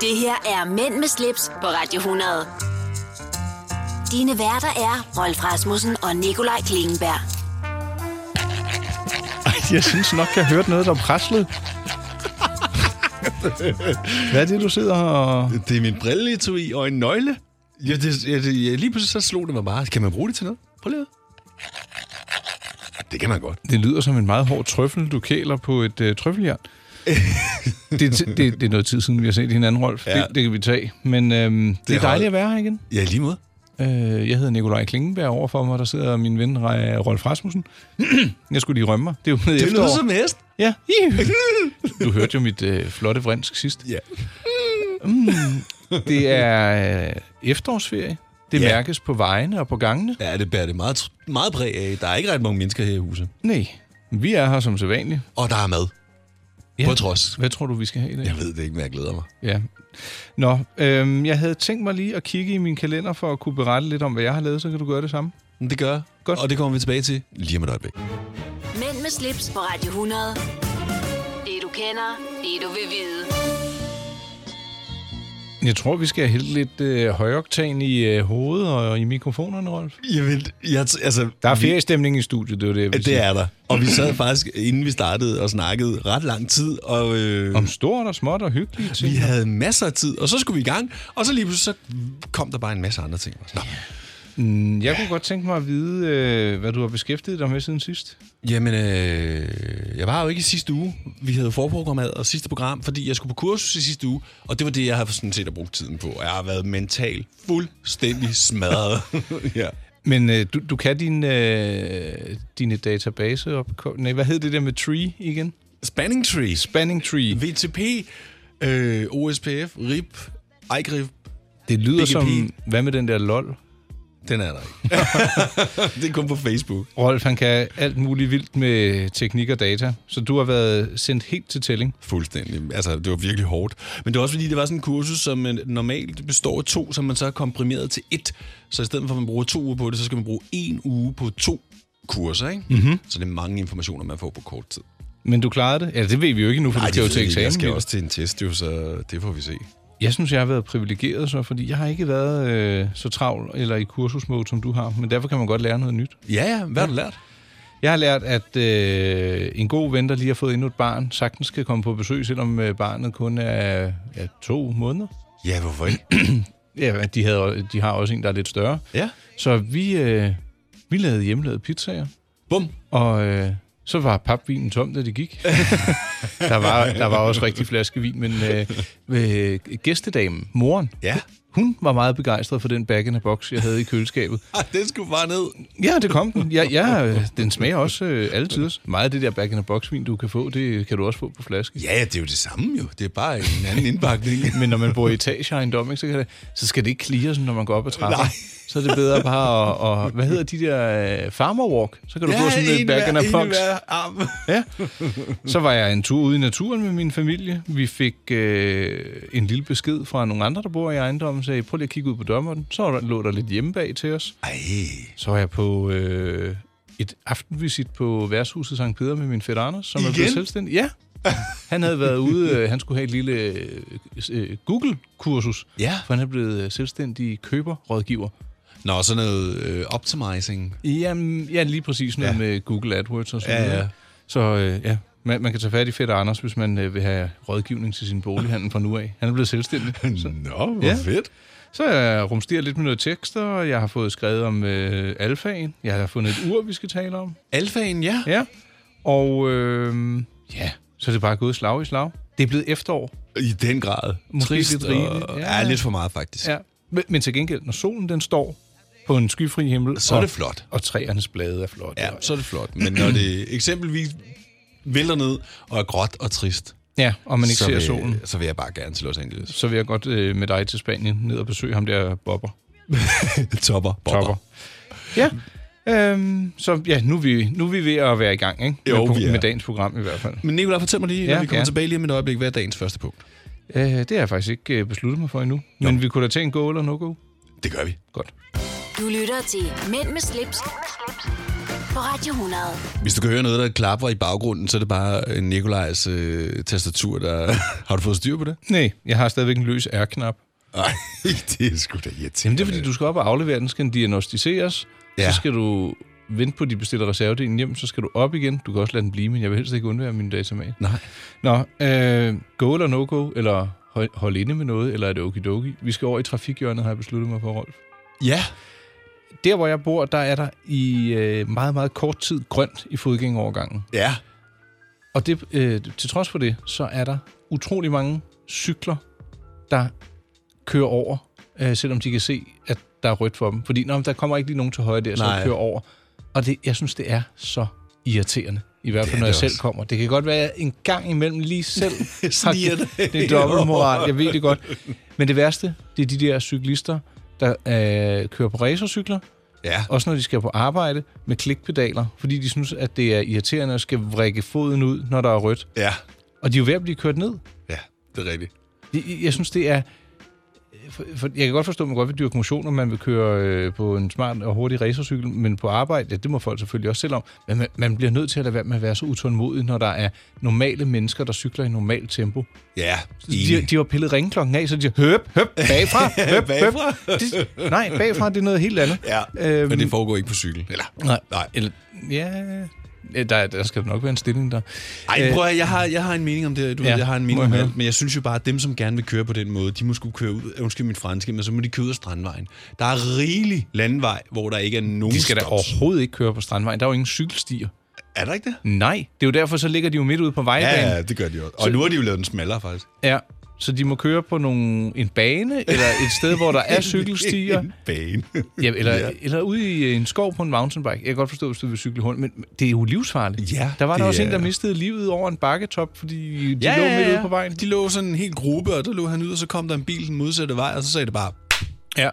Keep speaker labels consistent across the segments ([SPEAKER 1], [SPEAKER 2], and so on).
[SPEAKER 1] Det her er Mænd med slips på Radio 100. Dine værter er Rolf Rasmussen og Nikolaj Klingenberg.
[SPEAKER 2] Jeg synes nok, jeg hørte noget, der praslede. Hvad er det, du sidder og...
[SPEAKER 3] Det er min brilleetui og en nøgle. Ja, det, ja, det, ja, lige pludselig så slog det mig bare. Kan man bruge det til noget? Prøv lige at- Det kan man godt.
[SPEAKER 2] Det lyder som en meget hård trøffel, du kæler på et øh, trøffeljern. det, er ti- det, det er noget tid siden, vi har set hinanden, Rolf. Ja.
[SPEAKER 3] Ja.
[SPEAKER 2] Det, det kan vi tage. Men øhm, det, det er
[SPEAKER 3] har-
[SPEAKER 2] dejligt at være her igen.
[SPEAKER 3] Ja, i lige måde.
[SPEAKER 2] Øh, jeg hedder Nikolaj Klingenberg overfor mig, der sidder min ven Re- Rolf Rasmussen. jeg skulle lige rømme mig. Det er jo med
[SPEAKER 3] Det lyder
[SPEAKER 2] efterår.
[SPEAKER 3] som hest.
[SPEAKER 2] Ja. du hørte jo mit øh, flotte vrinsk sidst.
[SPEAKER 3] Ja.
[SPEAKER 2] Det er øh, efterårsferie. Det
[SPEAKER 3] Ja.
[SPEAKER 2] mærkes på vejene og på gangene.
[SPEAKER 3] ja, det bærer det meget, tr- meget præg af. Der er ikke ret mange mennesker her i huset.
[SPEAKER 2] Nej, vi er her som sædvanligt.
[SPEAKER 3] Og der er mad.
[SPEAKER 2] Ja.
[SPEAKER 3] På trods.
[SPEAKER 2] Hvad tror du, vi skal have i dag?
[SPEAKER 3] Jeg ved det ikke, men jeg glæder mig.
[SPEAKER 2] Ja. Nå, øhm, jeg havde tænkt mig lige at kigge i min kalender for at kunne berette lidt om, hvad jeg har lavet, så kan du gøre det samme.
[SPEAKER 3] Men det gør jeg.
[SPEAKER 2] Godt.
[SPEAKER 3] Og det kommer vi tilbage til lige om et øjeblik.
[SPEAKER 1] Mænd med slips på Radio 100. Det du kender, det du vil vide.
[SPEAKER 2] Jeg tror, vi skal hælde lidt øh, højoktan i øh, hovedet og i mikrofonerne, Rolf.
[SPEAKER 3] Jamen, jeg t- altså,
[SPEAKER 2] Der er feriestemning i studiet, det er jo det, jeg vil
[SPEAKER 3] Det
[SPEAKER 2] sige.
[SPEAKER 3] er der. Og vi sad faktisk, inden vi startede, og snakkede ret lang tid, og øh,
[SPEAKER 2] Om stort og småt og hyggeligt.
[SPEAKER 3] vi havde masser af tid, og så skulle vi i gang, og så lige pludselig så kom der bare en masse andre ting. Nå.
[SPEAKER 2] Jeg kunne godt tænke mig at vide, øh, hvad du har beskæftiget dig med siden sidst.
[SPEAKER 3] Jamen, øh, jeg var jo ikke i sidste uge. Vi havde forprogrammeret og sidste program, fordi jeg skulle på kursus i sidste uge, og det var det, jeg har sådan set har brugt tiden på. Jeg har været mentalt fuldstændig smadret. ja.
[SPEAKER 2] Men øh, du, du kan din, øh, dine database op... Nej, hvad hed det der med tree igen?
[SPEAKER 3] Spanning Trees,
[SPEAKER 2] Spanning tree.
[SPEAKER 3] VTP, øh, OSPF, RIP, IGRIP,
[SPEAKER 2] Det lyder
[SPEAKER 3] BGP.
[SPEAKER 2] som... Hvad med den der lol?
[SPEAKER 3] den er der ikke. det er kun på Facebook.
[SPEAKER 2] Rolf, han kan alt muligt vildt med teknik og data, så du har været sendt helt til tælling.
[SPEAKER 3] Fuldstændig. Altså, det var virkelig hårdt. Men det var også fordi, det var sådan en kursus, som øh, normalt består af to, som man så har komprimeret til et. Så i stedet for, at man bruger to uger på det, så skal man bruge en uge på to kurser, ikke? Mm-hmm. Så det er mange informationer, man får på kort tid.
[SPEAKER 2] Men du klarede det? Ja, det ved vi jo ikke nu, for Ej, du skal jo til eksamen.
[SPEAKER 3] jeg skal
[SPEAKER 2] Mille.
[SPEAKER 3] også til en test, jo, så det får vi se.
[SPEAKER 2] Jeg synes, jeg har været privilegeret så, fordi jeg har ikke været øh, så travl eller i kursusmode, som du har, men derfor kan man godt lære noget nyt.
[SPEAKER 3] Ja, ja. Hvad har du lært?
[SPEAKER 2] Jeg har lært, at øh, en god ven, der lige har fået endnu et barn, sagtens kan komme på besøg, selvom øh, barnet kun er ja, to måneder.
[SPEAKER 3] Ja, hvorfor ikke?
[SPEAKER 2] Ja, de, havde, de har også en, der er lidt større.
[SPEAKER 3] ja.
[SPEAKER 2] Så vi, øh, vi lavede hjemmelavede pizzaer.
[SPEAKER 3] Bum.
[SPEAKER 2] Og øh, så var papvinen tom, da det gik. der, var, der var også rigtig flaskevin, men øh, øh, gæstedamen, moren,
[SPEAKER 3] Ja.
[SPEAKER 2] hun var meget begejstret for den back in the box, jeg havde i køleskabet.
[SPEAKER 3] Ah, den skulle bare ned.
[SPEAKER 2] Ja, det kom den. Ja, ja øh, den smager også øh, altid. Meget af det der back in the box vin, du kan få, det kan du også få på flaske.
[SPEAKER 3] Ja, ja, det er jo det samme jo. Det er bare en anden indpakning.
[SPEAKER 2] Men når man bor i etageejendom, ikke, så, kan det, så skal det ikke klire, sådan, når man går op ad trappen.
[SPEAKER 3] Nej.
[SPEAKER 2] Så er det bedre bare at... Og, hvad hedder de der... øh, Farmer walk? Så kan du få sådan en back in the box.
[SPEAKER 3] arm.
[SPEAKER 2] Ja. Så var jeg en tur ude i naturen med min familie. Vi fik øh, en lille besked fra nogle andre, der bor i ejendommen, sagde, prøv lige at kigge ud på dommeren. Så var der, lå der lidt hjemme bag til os.
[SPEAKER 3] Ej.
[SPEAKER 2] Så var jeg på øh, et aftenvisit på værtshuset Sankt Peter med min fætter Anders, som er
[SPEAKER 3] Igen?
[SPEAKER 2] blevet selvstændig. Ja. Han havde været ude, øh, han skulle have et lille øh, øh, Google-kursus,
[SPEAKER 3] Ja.
[SPEAKER 2] for han er blevet øh, selvstændig køberrådgiver.
[SPEAKER 3] Nå, sådan noget øh, optimizing.
[SPEAKER 2] Jamen, ja, lige præcis noget ja.
[SPEAKER 3] Ja.
[SPEAKER 2] med Google AdWords og sådan
[SPEAKER 3] Ja,
[SPEAKER 2] noget.
[SPEAKER 3] ja.
[SPEAKER 2] Så øh, ja, man, man kan tage fat i Fætter Anders, hvis man øh, vil have rådgivning til sin bolighandel fra nu af. Han er blevet selvstændig. Så,
[SPEAKER 3] Nå, hvor
[SPEAKER 2] Ja.
[SPEAKER 3] fedt.
[SPEAKER 2] så jeg rumsterer lidt med noget tekster, og jeg har fået skrevet om øh, alfaen. Jeg har fundet et ur, vi skal tale om.
[SPEAKER 3] Alfaen, ja.
[SPEAKER 2] Ja. Og øh, ja, så er det bare gået slag i slag. Det er blevet efterår.
[SPEAKER 3] I den grad.
[SPEAKER 2] Måske
[SPEAKER 3] Trist
[SPEAKER 2] lidt rigeligt,
[SPEAKER 3] og...
[SPEAKER 2] ja.
[SPEAKER 3] Ja. ja, lidt for meget faktisk. Ja.
[SPEAKER 2] Ja. Men, men til gengæld, når solen den står på en skyfri himmel,
[SPEAKER 3] Så er
[SPEAKER 2] og,
[SPEAKER 3] det flot.
[SPEAKER 2] og træernes blade er flotte.
[SPEAKER 3] Ja,
[SPEAKER 2] og-
[SPEAKER 3] så er det flot. Men når det eksempelvis vælter ned og er gråt og trist,
[SPEAKER 2] ja og man ikke
[SPEAKER 3] så,
[SPEAKER 2] ser
[SPEAKER 3] vil,
[SPEAKER 2] solen.
[SPEAKER 3] så vil jeg bare gerne til Los Angeles.
[SPEAKER 2] så vil jeg godt øh, med dig til Spanien ned og besøge ham der Bobber.
[SPEAKER 3] Topper. Bobber.
[SPEAKER 2] Topper. Ja. Øhm, så ja, nu er, vi, nu er vi ved at være i gang, ikke?
[SPEAKER 3] Jo,
[SPEAKER 2] med, pro-
[SPEAKER 3] vi er.
[SPEAKER 2] med dagens program i hvert fald.
[SPEAKER 3] Men Nicolaj, fortæl mig lige,
[SPEAKER 2] Ja,
[SPEAKER 3] når vi kommer
[SPEAKER 2] gerne.
[SPEAKER 3] tilbage lige om et øjeblik, hvad er dagens første punkt?
[SPEAKER 2] Øh, det har jeg faktisk ikke øh, besluttet mig for endnu. Men vi kunne da tage en go eller no-go.
[SPEAKER 3] Det gør vi.
[SPEAKER 2] Godt.
[SPEAKER 1] Du lytter til Mænd med slips, på Radio 100.
[SPEAKER 3] Hvis du kan høre noget, der klapper i baggrunden, så er det bare Nikolajs øh, tastatur, der... har du fået styr på det?
[SPEAKER 2] Nej, jeg har stadigvæk en løs R-knap.
[SPEAKER 3] Nej, det er sgu da irriterende.
[SPEAKER 2] Jamen, det er, fordi du skal op og aflevere den, skal den diagnostiseres. Ja.
[SPEAKER 3] Ja.
[SPEAKER 2] Så skal du vente på, at de bestiller reservedelen hjem, så skal du op igen. Du kan også lade den blive, men jeg vil helst ikke undvære min datamat.
[SPEAKER 3] Nej.
[SPEAKER 2] Nå, øh, go eller no-go, eller hold, hold inde med noget, eller er det okidoki? Vi skal over i trafikhjørnet, har jeg besluttet mig for, Rolf.
[SPEAKER 3] Ja.
[SPEAKER 2] Der, hvor jeg bor, der er der i øh, meget, meget kort tid grønt i fodgængerovergangen.
[SPEAKER 3] Ja.
[SPEAKER 2] Og det, øh, til trods for det, så er der utrolig mange cykler, der kører over, øh, selvom de kan se, at der er rødt for dem. Fordi nå, men der kommer ikke lige nogen til højre der, så
[SPEAKER 3] Nej.
[SPEAKER 2] de kører over. Og det, jeg synes, det er så irriterende. I hvert fald,
[SPEAKER 3] er
[SPEAKER 2] når jeg
[SPEAKER 3] det
[SPEAKER 2] selv
[SPEAKER 3] også.
[SPEAKER 2] kommer. Det kan godt være, at jeg en gang imellem lige selv
[SPEAKER 3] Sniger det
[SPEAKER 2] det er dobbeltmoral, jeg ved det godt. Men det værste, det er de der cyklister, der øh, kører på racercykler,
[SPEAKER 3] Ja.
[SPEAKER 2] også når de skal på arbejde, med klikpedaler, fordi de synes, at det er irriterende at skal vrikke foden ud, når der er rødt.
[SPEAKER 3] Ja.
[SPEAKER 2] Og de er jo ved at blive kørt ned.
[SPEAKER 3] Ja, det er rigtigt.
[SPEAKER 2] Jeg, jeg synes, det er... For, for, jeg kan godt forstå, at man godt vil dyrke motion, når man vil køre øh, på en smart og hurtig racercykel, men på arbejde, ja, det må folk selvfølgelig også selv om, men man, man bliver nødt til at lade være med at være så utålmodig, når der er normale mennesker, der cykler i normalt tempo.
[SPEAKER 3] Ja,
[SPEAKER 2] De,
[SPEAKER 3] enig.
[SPEAKER 2] de har pillet ringklokken af, så de siger, høp, høp, bagfra, høp,
[SPEAKER 3] Bagfra.
[SPEAKER 2] høp. Det, nej, bagfra, det er noget helt andet.
[SPEAKER 3] Ja,
[SPEAKER 2] Øhm,
[SPEAKER 3] men det foregår ikke på cykel. Eller,
[SPEAKER 2] Nej.
[SPEAKER 3] nej.
[SPEAKER 2] Eller, ja, øh, der, der skal nok være en stilling der.
[SPEAKER 3] Ej, prøv at, jeg har, jeg har en mening om det, du Øh. ja,
[SPEAKER 2] Ja,
[SPEAKER 3] ved, jeg har en mening
[SPEAKER 2] må jeg
[SPEAKER 3] om
[SPEAKER 2] høre.
[SPEAKER 3] alt, men jeg synes jo bare, at dem, som gerne vil køre på den måde, de må skulle køre ud, undskyld min franske, men så må de køre ud af Strandvejen. Der er rigelig landvej, hvor der ikke er nogen
[SPEAKER 2] De skal da
[SPEAKER 3] stops.
[SPEAKER 2] overhovedet ikke køre på Strandvejen. Der er jo ingen cykelstier.
[SPEAKER 3] Er der ikke det?
[SPEAKER 2] Nej, det er jo derfor, så ligger de jo midt ude på vejbanen.
[SPEAKER 3] Ja, ja, det gør de også. Og nu har de jo lavet den smallere, faktisk.
[SPEAKER 2] Ja, så de må køre på nogle, en bane, eller et sted, hvor der er cykelstier,
[SPEAKER 3] En bane.
[SPEAKER 2] ja, eller, ja. eller ude i øh, en skov på en mountainbike. Jeg kan godt forstå, hvis du vil cykle hurtigt, men det er jo livsfarligt.
[SPEAKER 3] Ja,
[SPEAKER 2] der var der
[SPEAKER 3] det
[SPEAKER 2] også en,
[SPEAKER 3] er-
[SPEAKER 2] der mistede livet over en bakketop, fordi de ja, lå midt ude på vejen.
[SPEAKER 3] De lå sådan en hel gruppe, og der lå han ud, og så kom der en bil den modsatte vej, og så sagde det bare...
[SPEAKER 2] Ja,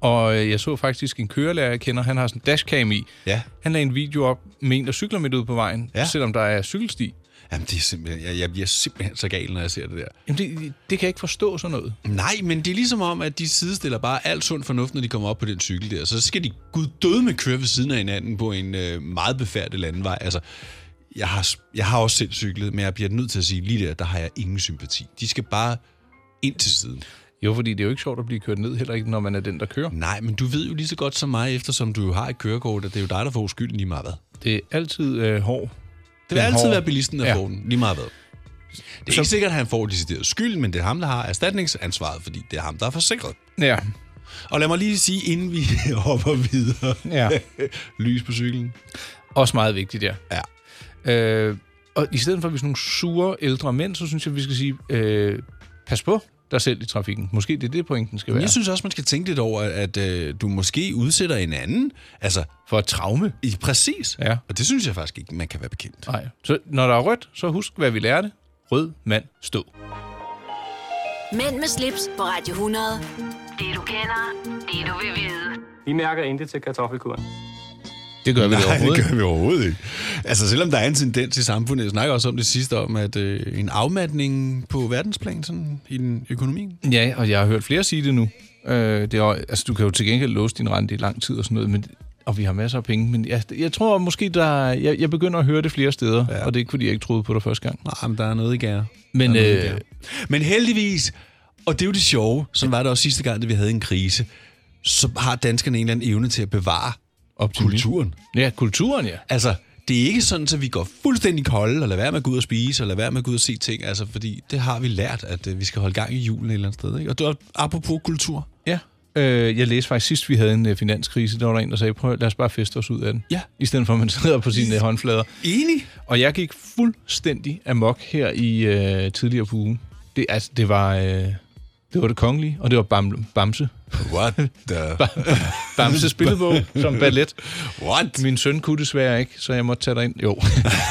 [SPEAKER 2] og øh, jeg så faktisk en kørelærer, jeg kender, han har sådan en dashcam i.
[SPEAKER 3] Ja.
[SPEAKER 2] Han lagde en video op med en, der cykler midt ude på vejen, ja.
[SPEAKER 3] Ja.
[SPEAKER 2] selvom der er cykelsti.
[SPEAKER 3] Jamen, det er simpelthen, jeg, jeg bliver simpelthen så gal, når jeg ser det der.
[SPEAKER 2] Jamen, det, det kan jeg ikke forstå sådan noget.
[SPEAKER 3] Nej, men det er ligesom om, at de sidestiller bare alt sund fornuft, når de kommer op på den cykel der. Så skal de gud døde med køre ved siden af hinanden på en øh, meget befærdet landevej. Altså, jeg har, s- jeg har også selv cyklet, men jeg bliver nødt til at sige, lige der, der har jeg ingen sympati. De skal bare ind til siden.
[SPEAKER 2] Jo, fordi det er jo ikke sjovt at blive kørt ned, heller ikke, når man er den, der kører.
[SPEAKER 3] Nej, men du ved jo lige så godt som mig, eftersom du jo har et kørekort, at det er jo dig, der får skylden lige meget hvad.
[SPEAKER 2] Det er altid øh, hård.
[SPEAKER 3] Det vil
[SPEAKER 2] Den
[SPEAKER 3] altid
[SPEAKER 2] hårde-
[SPEAKER 3] være bilisten, der
[SPEAKER 2] Ja.
[SPEAKER 3] ja. får den, lige meget hvad. Det er så... ikke sikkert, at han får decideret skyld, men det er ham, der har erstatningsansvaret, fordi det er ham, der er forsikret.
[SPEAKER 2] Ja,
[SPEAKER 3] Og lad mig lige sige, inden vi hopper videre.
[SPEAKER 2] ja.
[SPEAKER 3] Lys på cyklen.
[SPEAKER 2] Også meget vigtigt, ja.
[SPEAKER 3] Ja.
[SPEAKER 2] Øh, og i stedet for at vi er sådan nogle sure ældre mænd, så synes jeg, vi skal sige, øh, pas på dig selv i trafikken. Måske det er det, pointen skal
[SPEAKER 3] Men
[SPEAKER 2] være.
[SPEAKER 3] jeg synes også, man skal tænke lidt over, at øh, du måske udsætter en anden. Altså,
[SPEAKER 2] For et traume.
[SPEAKER 3] i, præcis.
[SPEAKER 2] Ja.
[SPEAKER 3] Og det synes jeg faktisk ikke, man kan være bekendt.
[SPEAKER 2] Nej. Så når der er rødt, så husk, hvad vi lærte. Rød mand stå.
[SPEAKER 1] Mænd med slips på Radio 100. Det du kender, det du vil vide.
[SPEAKER 4] Vi mærker intet til kartoffelkuren.
[SPEAKER 2] Det gør vi da
[SPEAKER 3] Nej,
[SPEAKER 2] overhovedet.
[SPEAKER 3] det gør vi overhovedet ikke. Altså, selvom der er en tendens i samfundet, jeg snakker også om det sidste, om at øh, en afmatning på verdensplan sådan, i den økonomien.
[SPEAKER 2] Ja, og jeg har hørt flere sige det nu. Øh, det er, jo- altså, du kan jo til gengæld låse din rente i lang tid og sådan noget, men, og vi har masser af penge. Men jeg, jeg tror måske, der, jeg, jeg begynder at høre det flere steder, ja. og det er ikke, fordi jeg ikke troede på det første gang.
[SPEAKER 3] Nej, men der er noget i gære.
[SPEAKER 2] Men
[SPEAKER 3] Der er noget i
[SPEAKER 2] øh,
[SPEAKER 3] gære. Men heldigvis, og det er jo det sjove, som var det også sidste gang, da vi havde en krise, så har danskerne en eller anden evne til at bevare
[SPEAKER 2] optimisme.
[SPEAKER 3] kulturen.
[SPEAKER 2] Ja, kulturen, ja.
[SPEAKER 3] Altså, det er ikke sådan, at vi går fuldstændig kolde, og lader være med at gå ud og spise, og lader være med at gå ud og se ting, altså, fordi det har vi lært, at øh, vi skal holde gang i julen et eller andet sted. Ikke? Og det var apropos kultur.
[SPEAKER 2] Ja. Øh, jeg læste faktisk sidst, vi havde en øh, finanskrise, der var der en, der sagde, prøv at- lad os bare feste os ud af den.
[SPEAKER 3] Ja.
[SPEAKER 2] I stedet for, at man sidder på sine øh, håndflader.
[SPEAKER 3] Enig?
[SPEAKER 2] Og jeg gik fuldstændig amok her i øh, tidligere på ugen. Det, altså, det var... Øh, det var det kongelige, og det var Bam, Bamse.
[SPEAKER 3] What the...
[SPEAKER 2] Bamse spillebog som ballet.
[SPEAKER 3] What?
[SPEAKER 2] Min søn kunne desværre ikke, så jeg måtte tage dig ind. Jo.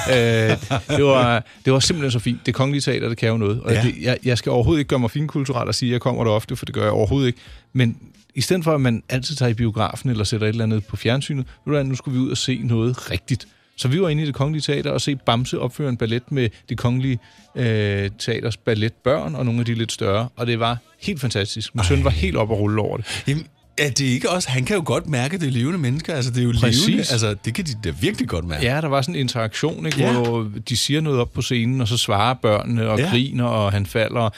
[SPEAKER 2] øh, det, var, det var simpelthen så fint. Det kongelige teater, det kan jo noget. Og ja.
[SPEAKER 3] Ja.
[SPEAKER 2] det, jeg, jeg skal overhovedet ikke gøre mig finkulturel og sige, at jeg kommer der ofte, for det gør jeg overhovedet ikke. Men i stedet for, at man altid tager i biografen eller sætter et eller andet på fjernsynet, ved du hvad, nu skulle vi ud og se noget rigtigt. Så vi var inde i det kongelige teater og se Bamse opføre en ballet med det kongelige øh, teaters balletbørn og nogle af de lidt større. Og det var helt fantastisk. Min søn var helt op og rulle over det.
[SPEAKER 3] Jamen, Er det ikke også? Han kan jo godt mærke, at det er levende mennesker. Altså, det er jo
[SPEAKER 2] Præcis.
[SPEAKER 3] levende. Altså, det kan de da virkelig godt mærke.
[SPEAKER 2] Ja, der var sådan en interaktion, ikke,
[SPEAKER 3] Ja.
[SPEAKER 2] ja. hvor de siger noget op på scenen, og så svarer børnene og
[SPEAKER 3] Ja.
[SPEAKER 2] ja. griner, og han falder. og,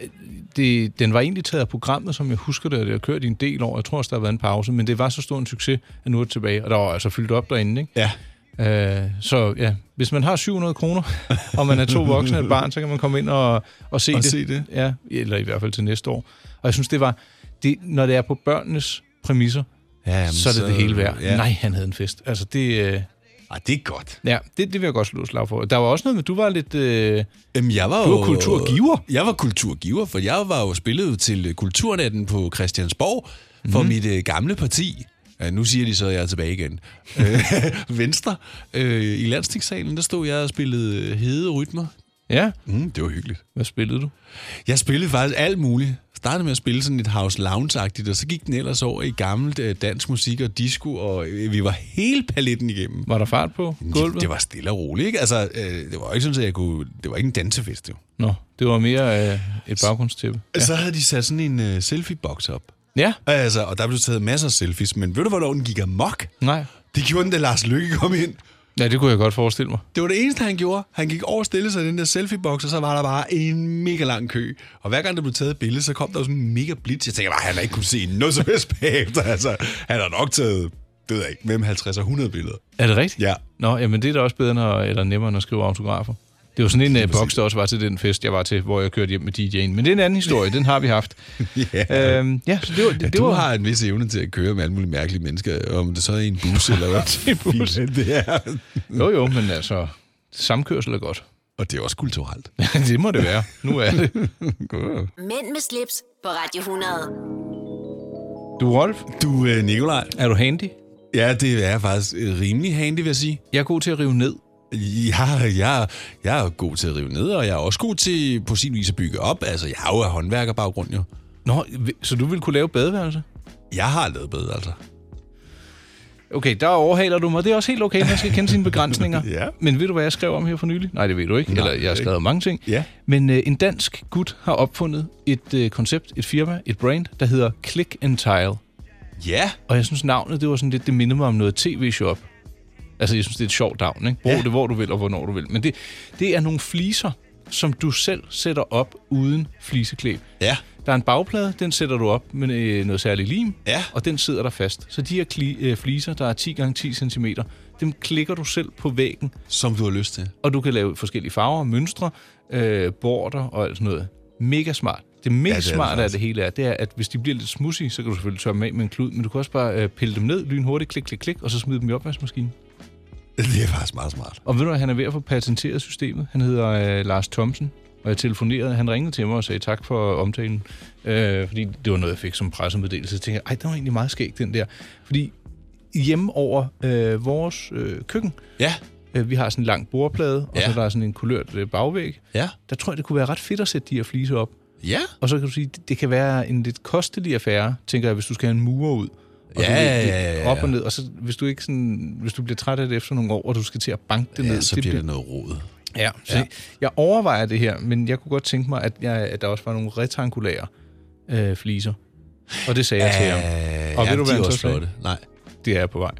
[SPEAKER 2] øh, Det, den var egentlig taget af programmet, som jeg husker det, og det har kørt i en del år. Jeg tror også, der har været en pause, men det var så stor en succes, at nu er det tilbage. Og der var altså fyldt op derinde, ikke?
[SPEAKER 3] ja.
[SPEAKER 2] Øh, så ja, hvis man har 700 kroner, og man er to voksne og et barn, så kan man komme ind og, og, se,
[SPEAKER 3] Og
[SPEAKER 2] det.
[SPEAKER 3] se det.
[SPEAKER 2] Ja, eller i hvert fald til næste år. Og jeg synes, det var, det, når det er på børnenes præmisser,
[SPEAKER 3] Jamen,
[SPEAKER 2] så er det det hele værd.
[SPEAKER 3] Ja.
[SPEAKER 2] Ja. Nej, han havde en fest. Altså, det, øh,
[SPEAKER 3] Ej, det er godt.
[SPEAKER 2] ja, det, det vil jeg godt slå et slag for. Der var også noget med, du var lidt... Øh,
[SPEAKER 3] Jamen, jeg var
[SPEAKER 2] Du var
[SPEAKER 3] jo...
[SPEAKER 2] kulturgiver.
[SPEAKER 3] Jeg var kulturgiver, for jeg var jo spillet til øh, kulturnatten på Christiansborg for
[SPEAKER 2] Mhm.
[SPEAKER 3] mit øh, gamle parti. Ja, nu siger de så, at jeg er tilbage igen. Øh, Venstre. Øh, I landstingssalen, der stod jeg og spillede øh, hede rytmer.
[SPEAKER 2] ja,
[SPEAKER 3] Mm, det var hyggeligt.
[SPEAKER 2] hvad spillede du?
[SPEAKER 3] Jeg spillede faktisk alt muligt. Startede med at spille sådan et house lounge-agtigt, og så gik den ellers over i gammelt øh, dansk musik og disco, og øh, vi var hele paletten igennem.
[SPEAKER 2] Var der fart på gulvet?
[SPEAKER 3] Det, det var stille og roligt, ikke? Altså, øh, det var ikke sådan, at jeg kunne... Det var ikke en dansefest, jo.
[SPEAKER 2] Nå, det var mere øh, et baggrundstæppe.
[SPEAKER 3] Ja. Så havde de sat sådan en øh, selfie-boks op.
[SPEAKER 2] Ja,
[SPEAKER 3] Altså, og der blev taget masser af selfies, men ved du, hvornår den gik amok?
[SPEAKER 2] nej.
[SPEAKER 3] Det gjorde den, da Lars Lykke kom ind.
[SPEAKER 2] Ja, det kunne jeg godt forestille mig.
[SPEAKER 3] Det var det eneste, han gjorde. Han gik over og stillede sig i den der selfie-boks, og så var der bare en mega lang kø. Og hver gang, der blev taget et billede, så kom der jo sådan en mega blitz. Jeg tænker bare, han har ikke kunne se noget som helst bagefter. Altså, han har nok taget, det ved jeg ikke, mellem 50 og 100 billeder.
[SPEAKER 2] Er det rigtigt?
[SPEAKER 3] Ja.
[SPEAKER 2] Nå, jamen det er da også bedre, når, eller nemmere, end at skrive autografer. Det var sådan en uh, boks, der også var til den fest, jeg var til, hvor jeg kørte hjem med DJ'en. Men det er en anden historie, den har vi haft.
[SPEAKER 3] Ja.
[SPEAKER 2] Øhm, ja, så det var... Det,
[SPEAKER 3] Ja,
[SPEAKER 2] det
[SPEAKER 3] du
[SPEAKER 2] var
[SPEAKER 3] har en vis evne til at køre med alle mulige mærkelige mennesker, om det så er i en bus eller hvad.
[SPEAKER 2] I en bus.
[SPEAKER 3] Fint, Det er.
[SPEAKER 2] Jo, jo, men altså, samkørsel er godt.
[SPEAKER 3] Og det er også kulturelt.
[SPEAKER 2] det må det være. Nu er det.
[SPEAKER 1] Mænd med slips på Radio 100.
[SPEAKER 2] Du, Rolf,
[SPEAKER 3] Du, øh, Nikolaj.
[SPEAKER 2] er du handy?
[SPEAKER 3] Ja, det er faktisk øh, rimelig handy, vil jeg sige.
[SPEAKER 2] Jeg er god til at rive ned.
[SPEAKER 3] Jeg, jeg, jeg er god til at rive ned, og jeg er også god til på sin vis at bygge op. Altså, jeg har jo af håndværkerbaggrund, jo.
[SPEAKER 2] Nå, vi- så du vil kunne lave badeværelse?
[SPEAKER 3] Jeg har lavet bedre, altså.
[SPEAKER 2] Okay, der overhaler du mig. Det er også helt okay, man skal kende sine begrænsninger.
[SPEAKER 3] Ja.
[SPEAKER 2] Men ved du, hvad jeg skrev om her for nylig? Nej, det ved du ikke.
[SPEAKER 3] Nej,
[SPEAKER 2] Eller jeg har
[SPEAKER 3] ikke.
[SPEAKER 2] skrevet om mange ting.
[SPEAKER 3] Ja.
[SPEAKER 2] Men øh, en dansk gut har opfundet et øh, koncept, et firma, et brand, der hedder Click and Tile.
[SPEAKER 3] Ja,
[SPEAKER 2] Og jeg synes, navnet, det var sådan lidt, det minder mig om noget tv-shop. Altså, jeg synes, det er et sjovt navn, ikke? Brug
[SPEAKER 3] Ja.
[SPEAKER 2] ja. det, hvor du vil, og hvornår du vil. Men det, det er nogle fliser, som du selv sætter op uden fliseklæb.
[SPEAKER 3] ja.
[SPEAKER 2] Der er en bagplade, den sætter du op med øh, noget særligt lim,
[SPEAKER 3] Ja.
[SPEAKER 2] og den sidder der fast. Så de her kli, øh, fliser, der er 10x10 cm, dem klikker du selv på væggen,
[SPEAKER 3] Som du har lyst til.
[SPEAKER 2] og du kan lave forskellige farver, mønstre, øh, border og alt sådan noget. Mega smart. Det mest
[SPEAKER 3] det er det
[SPEAKER 2] ja, smarte af
[SPEAKER 3] faktisk.
[SPEAKER 2] det hele er, det er, at hvis de bliver lidt smudsige, så kan du selvfølgelig tørre dem af med en klud, men du kan også bare øh, pille dem ned lynhurtigt, klik, klik, klik, og så smide dem i opvaskemaskinen.
[SPEAKER 3] Det er faktisk meget smart.
[SPEAKER 2] Og ved du, hvad, han er ved at få patenteret systemet. Han hedder øh, Lars Thomsen, og jeg telefonerede, han ringede til mig og sagde tak for omtalen, øh, fordi det var noget, jeg fik som pressemeddelelse. Så tænkte jeg, ej, det var egentlig meget skægt, den der. Fordi hjemme over øh, vores øh, køkken,
[SPEAKER 3] Ja,
[SPEAKER 2] øh, vi har sådan en lang bordplade, og
[SPEAKER 3] Ja.
[SPEAKER 2] så der er sådan en kulørt øh, bagvæg,
[SPEAKER 3] ja,
[SPEAKER 2] der tror jeg, det kunne være ret fedt at sætte de her fliser op.
[SPEAKER 3] ja.
[SPEAKER 2] Og så kan du sige, det, det kan være en lidt kostelig affære, tænker jeg, hvis du skal have en murer ud. Og
[SPEAKER 3] Ja,
[SPEAKER 2] du ved, det
[SPEAKER 3] ja, ja, ja.
[SPEAKER 2] Op og ned, og så hvis du, ikke sådan, hvis du bliver træt af det efter nogle år, og du skal til at banke det
[SPEAKER 3] Ja,
[SPEAKER 2] ned,
[SPEAKER 3] så
[SPEAKER 2] det
[SPEAKER 3] bliver det noget rod.
[SPEAKER 2] Ja, så
[SPEAKER 3] Ja.
[SPEAKER 2] ja. jeg overvejer det her, men jeg kunne godt tænke mig, at, jeg, at der også var nogle rektangulære øh, fliser. Og det sagde jeg til ham.
[SPEAKER 3] Øh,
[SPEAKER 2] Og
[SPEAKER 3] ja,
[SPEAKER 2] ved du,
[SPEAKER 3] de
[SPEAKER 2] hvad
[SPEAKER 3] er
[SPEAKER 2] han
[SPEAKER 3] også
[SPEAKER 2] så sagde?
[SPEAKER 3] flotte. Nej,
[SPEAKER 2] Det er på vej.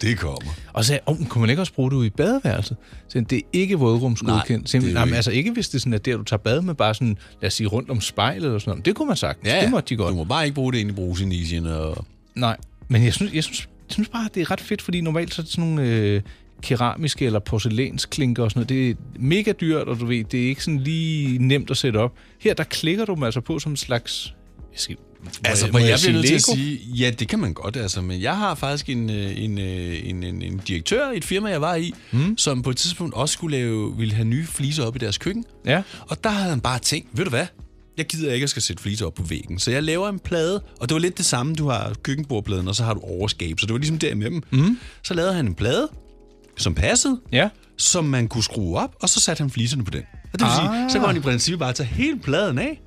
[SPEAKER 3] det kommer.
[SPEAKER 2] Og så sagde jeg, oh, kunne man ikke også bruge det ude i badeværelset? Så sagde han, det er ikke
[SPEAKER 3] Nej,
[SPEAKER 2] vådrumsgodkendt. Nej,
[SPEAKER 3] det er jo
[SPEAKER 2] nej, men
[SPEAKER 3] ikke.
[SPEAKER 2] altså ikke, hvis det er sådan, at der, du tager bad med bare sådan, lad os sige, rundt om spejlet eller sådan noget. Men Det kunne man sagtens. Det måtte de godt.
[SPEAKER 3] Du må bare ikke bruge det inde i brusenisien. Og...
[SPEAKER 2] Nej, men jeg synes, jeg synes, jeg synes bare, det er ret fedt, fordi normalt så er det sådan nogle øh, keramiske eller porcelænsklinker og sådan noget. Det er mega dyrt, og du ved, det er ikke sådan lige nemt at sætte op. Her, der klikker du dem altså på som en slags... Jeg skal, må
[SPEAKER 3] Altså,
[SPEAKER 2] må
[SPEAKER 3] hvor jeg bliver nødt til at
[SPEAKER 2] Lego?
[SPEAKER 3] sige, ja, det kan man godt, altså, men jeg har faktisk en, øh, en, øh, en, en, en direktør i et firma, jeg var i, mm. som på et tidspunkt også skulle lave, ville have nye fliser op i deres køkken,
[SPEAKER 2] Ja,
[SPEAKER 3] og der havde han bare tænkt, ved du hvad, jeg gider ikke, at jeg skal sætte fliser op på væggen, så jeg laver en plade, og det var lidt det samme, du har køkkenbordpladen, og så har du overskab, så det var ligesom der imellem. Mm. Så lavede han en plade, som passede,
[SPEAKER 2] ja.
[SPEAKER 3] som man kunne skrue op, og så satte han fliserne på den. Og det vil ah. sige,
[SPEAKER 2] Ah.
[SPEAKER 3] så kunne han i princippet bare tage hele pladen af,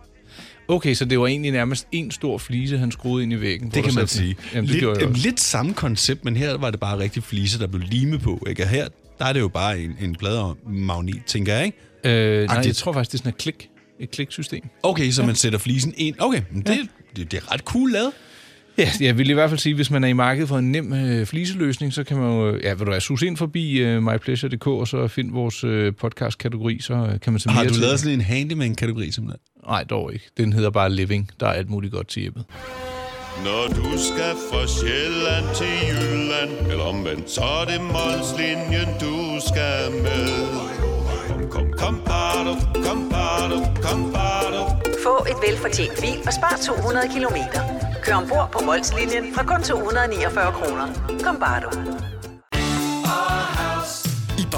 [SPEAKER 2] Okay, så det var egentlig nærmest en stor flise, han skruede ind i væggen. hvor
[SPEAKER 3] Det
[SPEAKER 2] der
[SPEAKER 3] kan man
[SPEAKER 2] sad den.
[SPEAKER 3] sige.
[SPEAKER 2] Jamen, det
[SPEAKER 3] lidt,
[SPEAKER 2] gjorde jeg
[SPEAKER 3] øhm,
[SPEAKER 2] også.
[SPEAKER 3] lidt samme koncept, men her var det bare rigtig flise, der blev limet på. Ikke? Og her, der er det jo bare en, en pladermagnet, tænker jeg, ikke?
[SPEAKER 2] Øh, nej, jeg
[SPEAKER 3] agtigt.
[SPEAKER 2] tror faktisk, det er sådan et klik. Et kliksystem.
[SPEAKER 3] Okay, så man sætter flisen ind. Okay, men det, det, det er ret cool lavet.
[SPEAKER 2] Ja, jeg vil i hvert fald sige, at hvis man er i markedet for en nem øh, fliseløsning, så kan man jo øh, ja, vil du være, sus ind forbi øh, mypleasure.dk, og så find vores øh, podcast-kategori, så øh, kan man se mere
[SPEAKER 3] Har du
[SPEAKER 2] til.
[SPEAKER 3] lavet sådan en handyman-kategori simpelthen?
[SPEAKER 2] Nej, dog ikke. Den hedder bare Living. Der er alt muligt godt til hjemmet.
[SPEAKER 5] Når du skal fra Sjælland til Jylland Eller omvendt, så er det Molslinjen, du skal med Kom, kom, kom, bado, kom, bado, kom, bado.
[SPEAKER 6] Få et velfortjent bil og spar 200 kilometer. Kør ombord på Molslinjen fra kun 249 kroner. Kom bare du.
[SPEAKER 7] I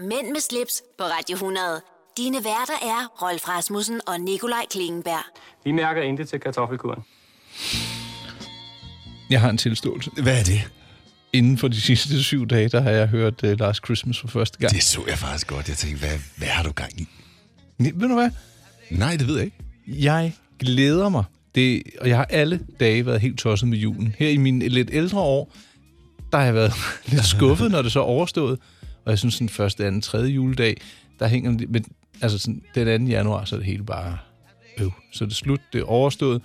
[SPEAKER 1] Mænd med slips på Radio 100. Dine værter er Rolf Rasmussen og Nikolaj Klingenberg.
[SPEAKER 4] Vi mærker intet til kartoffelkuren.
[SPEAKER 2] Jeg har en tilståelse.
[SPEAKER 3] Hvad er det?
[SPEAKER 2] Inden for de sidste syv dage, der har jeg hørt uh, Last Christmas for første gang.
[SPEAKER 3] Det så jeg faktisk godt. Jeg tænkte, hvad, hvad har du gang i?
[SPEAKER 2] Det. Ved du hvad?
[SPEAKER 3] Nej, det ved jeg ikke.
[SPEAKER 2] Jeg glæder mig. Det, og jeg har alle dage været helt tosset med julen. Her i mine lidt ældre år, der har jeg været lidt skuffet, når det så er overstået. Og jeg synes, den første, anden, tredje juledag, der hænger... den- Men altså, sådan, den 2. januar, så er det hele bare øv. Så er det slut, det er overstået.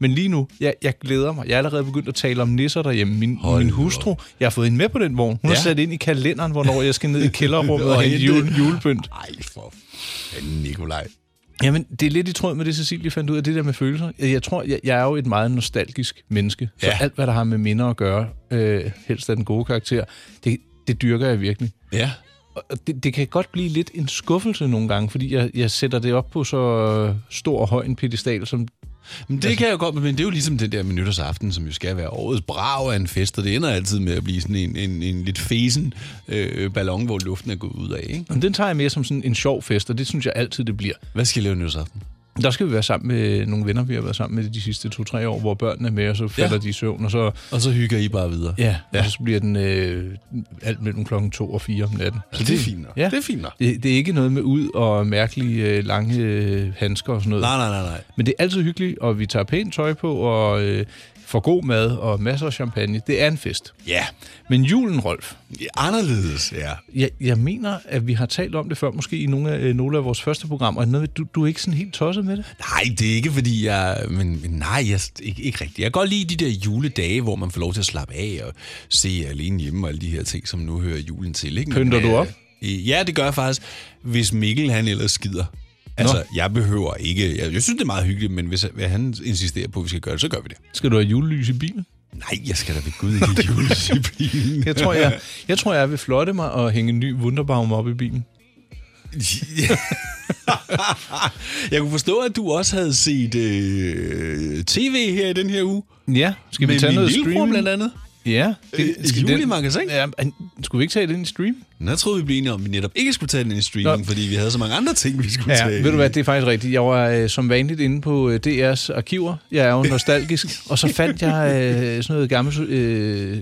[SPEAKER 2] Men lige nu, jeg, jeg glæder mig. Jeg er allerede begyndt at tale om nisser derhjemme. Min, min hustru, jeg har fået hende med på den vogn. Hun ja.
[SPEAKER 3] Ja.
[SPEAKER 2] har sat ind i kalenderen, hvornår jeg skal ned i kælderrummet og
[SPEAKER 3] Og
[SPEAKER 2] hente
[SPEAKER 3] hente-
[SPEAKER 2] jule, julepynt.
[SPEAKER 3] Nej, for fanden, Nikolaj.
[SPEAKER 2] Jamen, det er lidt i tråd med det, Cecilie fandt ud af, det der med følelser. Jeg tror, jeg, jeg er jo et meget nostalgisk menneske, så
[SPEAKER 3] Ja.
[SPEAKER 2] alt, hvad der har med minder at gøre, øh, helst af den gode karakter, det, det dyrker jeg virkelig.
[SPEAKER 3] Ja.
[SPEAKER 2] Og og det, det kan godt blive lidt en skuffelse nogle gange, fordi jeg, jeg sætter det op på så øh, stor og høj en pedestal, som...
[SPEAKER 3] Men det kan jeg jo godt, men det er jo ligesom den der med nytårsaften, som jo skal være årets brag af en fest, og det ender altid med at blive sådan en, en, en lidt fesen øh, ballon, hvor luften er gået ud af, ikke?
[SPEAKER 2] Jamen, Den tager jeg mere som sådan en sjov fest, og det synes jeg altid, det bliver.
[SPEAKER 3] Hvad skal jeg lave nytårsaften?
[SPEAKER 2] Der skal vi være sammen med nogle venner, vi har været sammen med de sidste to-tre år, hvor børnene er med, og så falder
[SPEAKER 3] Ja.
[SPEAKER 2] ja. de i søvn, og så...
[SPEAKER 3] Og så hygger I bare videre.
[SPEAKER 2] Ja, ja. og så bliver den øh, alt mellem klokken 2 og 4 om natten.
[SPEAKER 3] Så det er fint nok.
[SPEAKER 2] Ja.
[SPEAKER 3] Det er fint nok.
[SPEAKER 2] Det, det er ikke noget med ud og mærkelige øh, lange øh, handsker og sådan noget.
[SPEAKER 3] Nej, nej, nej, nej.
[SPEAKER 2] Men det er altid hyggeligt, og vi tager pænt tøj på og øh, får god mad og masser af champagne. Det er en fest.
[SPEAKER 3] Ja.
[SPEAKER 2] Men julen, Rolf,
[SPEAKER 3] Ja, Anderledes, ja.
[SPEAKER 2] jeg, jeg mener, at vi har talt om det før, måske i nogle af, øh, nogle af vores første programmer. Er det noget, Du, du er ikke sådan helt tosset med det?
[SPEAKER 3] Nej, det er ikke, fordi jeg... Men, men nej, jeg, ikke, ikke rigtigt. Jeg kan godt lide de der juledage, hvor man får lov til at slappe af og se alene hjemme og alle de her ting, som nu hører julen til. Ikke? Men,
[SPEAKER 2] Pynter du
[SPEAKER 3] øh,
[SPEAKER 2] op?
[SPEAKER 3] øh, Ja, det gør jeg faktisk, hvis Mikkel han ellers skider. Altså, jeg behøver ikke... Jeg, jeg synes, det er meget hyggeligt, men hvis, hvis han insisterer på, at vi skal gøre det, så gør vi det.
[SPEAKER 2] Skal du have julelys i bilen?
[SPEAKER 3] Nej, jeg skal da ved Gud ikke jule i bilen.
[SPEAKER 2] Jeg tror, jeg, jeg, tror, jeg vil flotte mig og hænge en ny Wunderbaum op i bilen.
[SPEAKER 3] jeg kunne forstå, at du også havde set øh, tv her i den her uge.
[SPEAKER 2] Ja, skal vi
[SPEAKER 3] Med
[SPEAKER 2] tage
[SPEAKER 3] min
[SPEAKER 2] noget
[SPEAKER 3] lillebror
[SPEAKER 2] streaming?
[SPEAKER 3] blandt andet.
[SPEAKER 2] Ja.
[SPEAKER 3] Øh, julemagasin?
[SPEAKER 2] Den, ja, men skulle vi ikke tage det ind i stream?
[SPEAKER 3] Men jeg troede, vi blev enige om, at vi netop ikke skulle tage den ind i streaming, Nå.
[SPEAKER 2] Nå.
[SPEAKER 3] fordi vi havde så mange andre ting, vi skulle
[SPEAKER 2] Ja,
[SPEAKER 3] tage.
[SPEAKER 2] ved du hvad, det er faktisk rigtigt. Jeg var øh, som vanligt inde på øh, DR's arkiver. Jeg er jo nostalgisk. og så fandt jeg øh, sådan noget gammelt... Øh,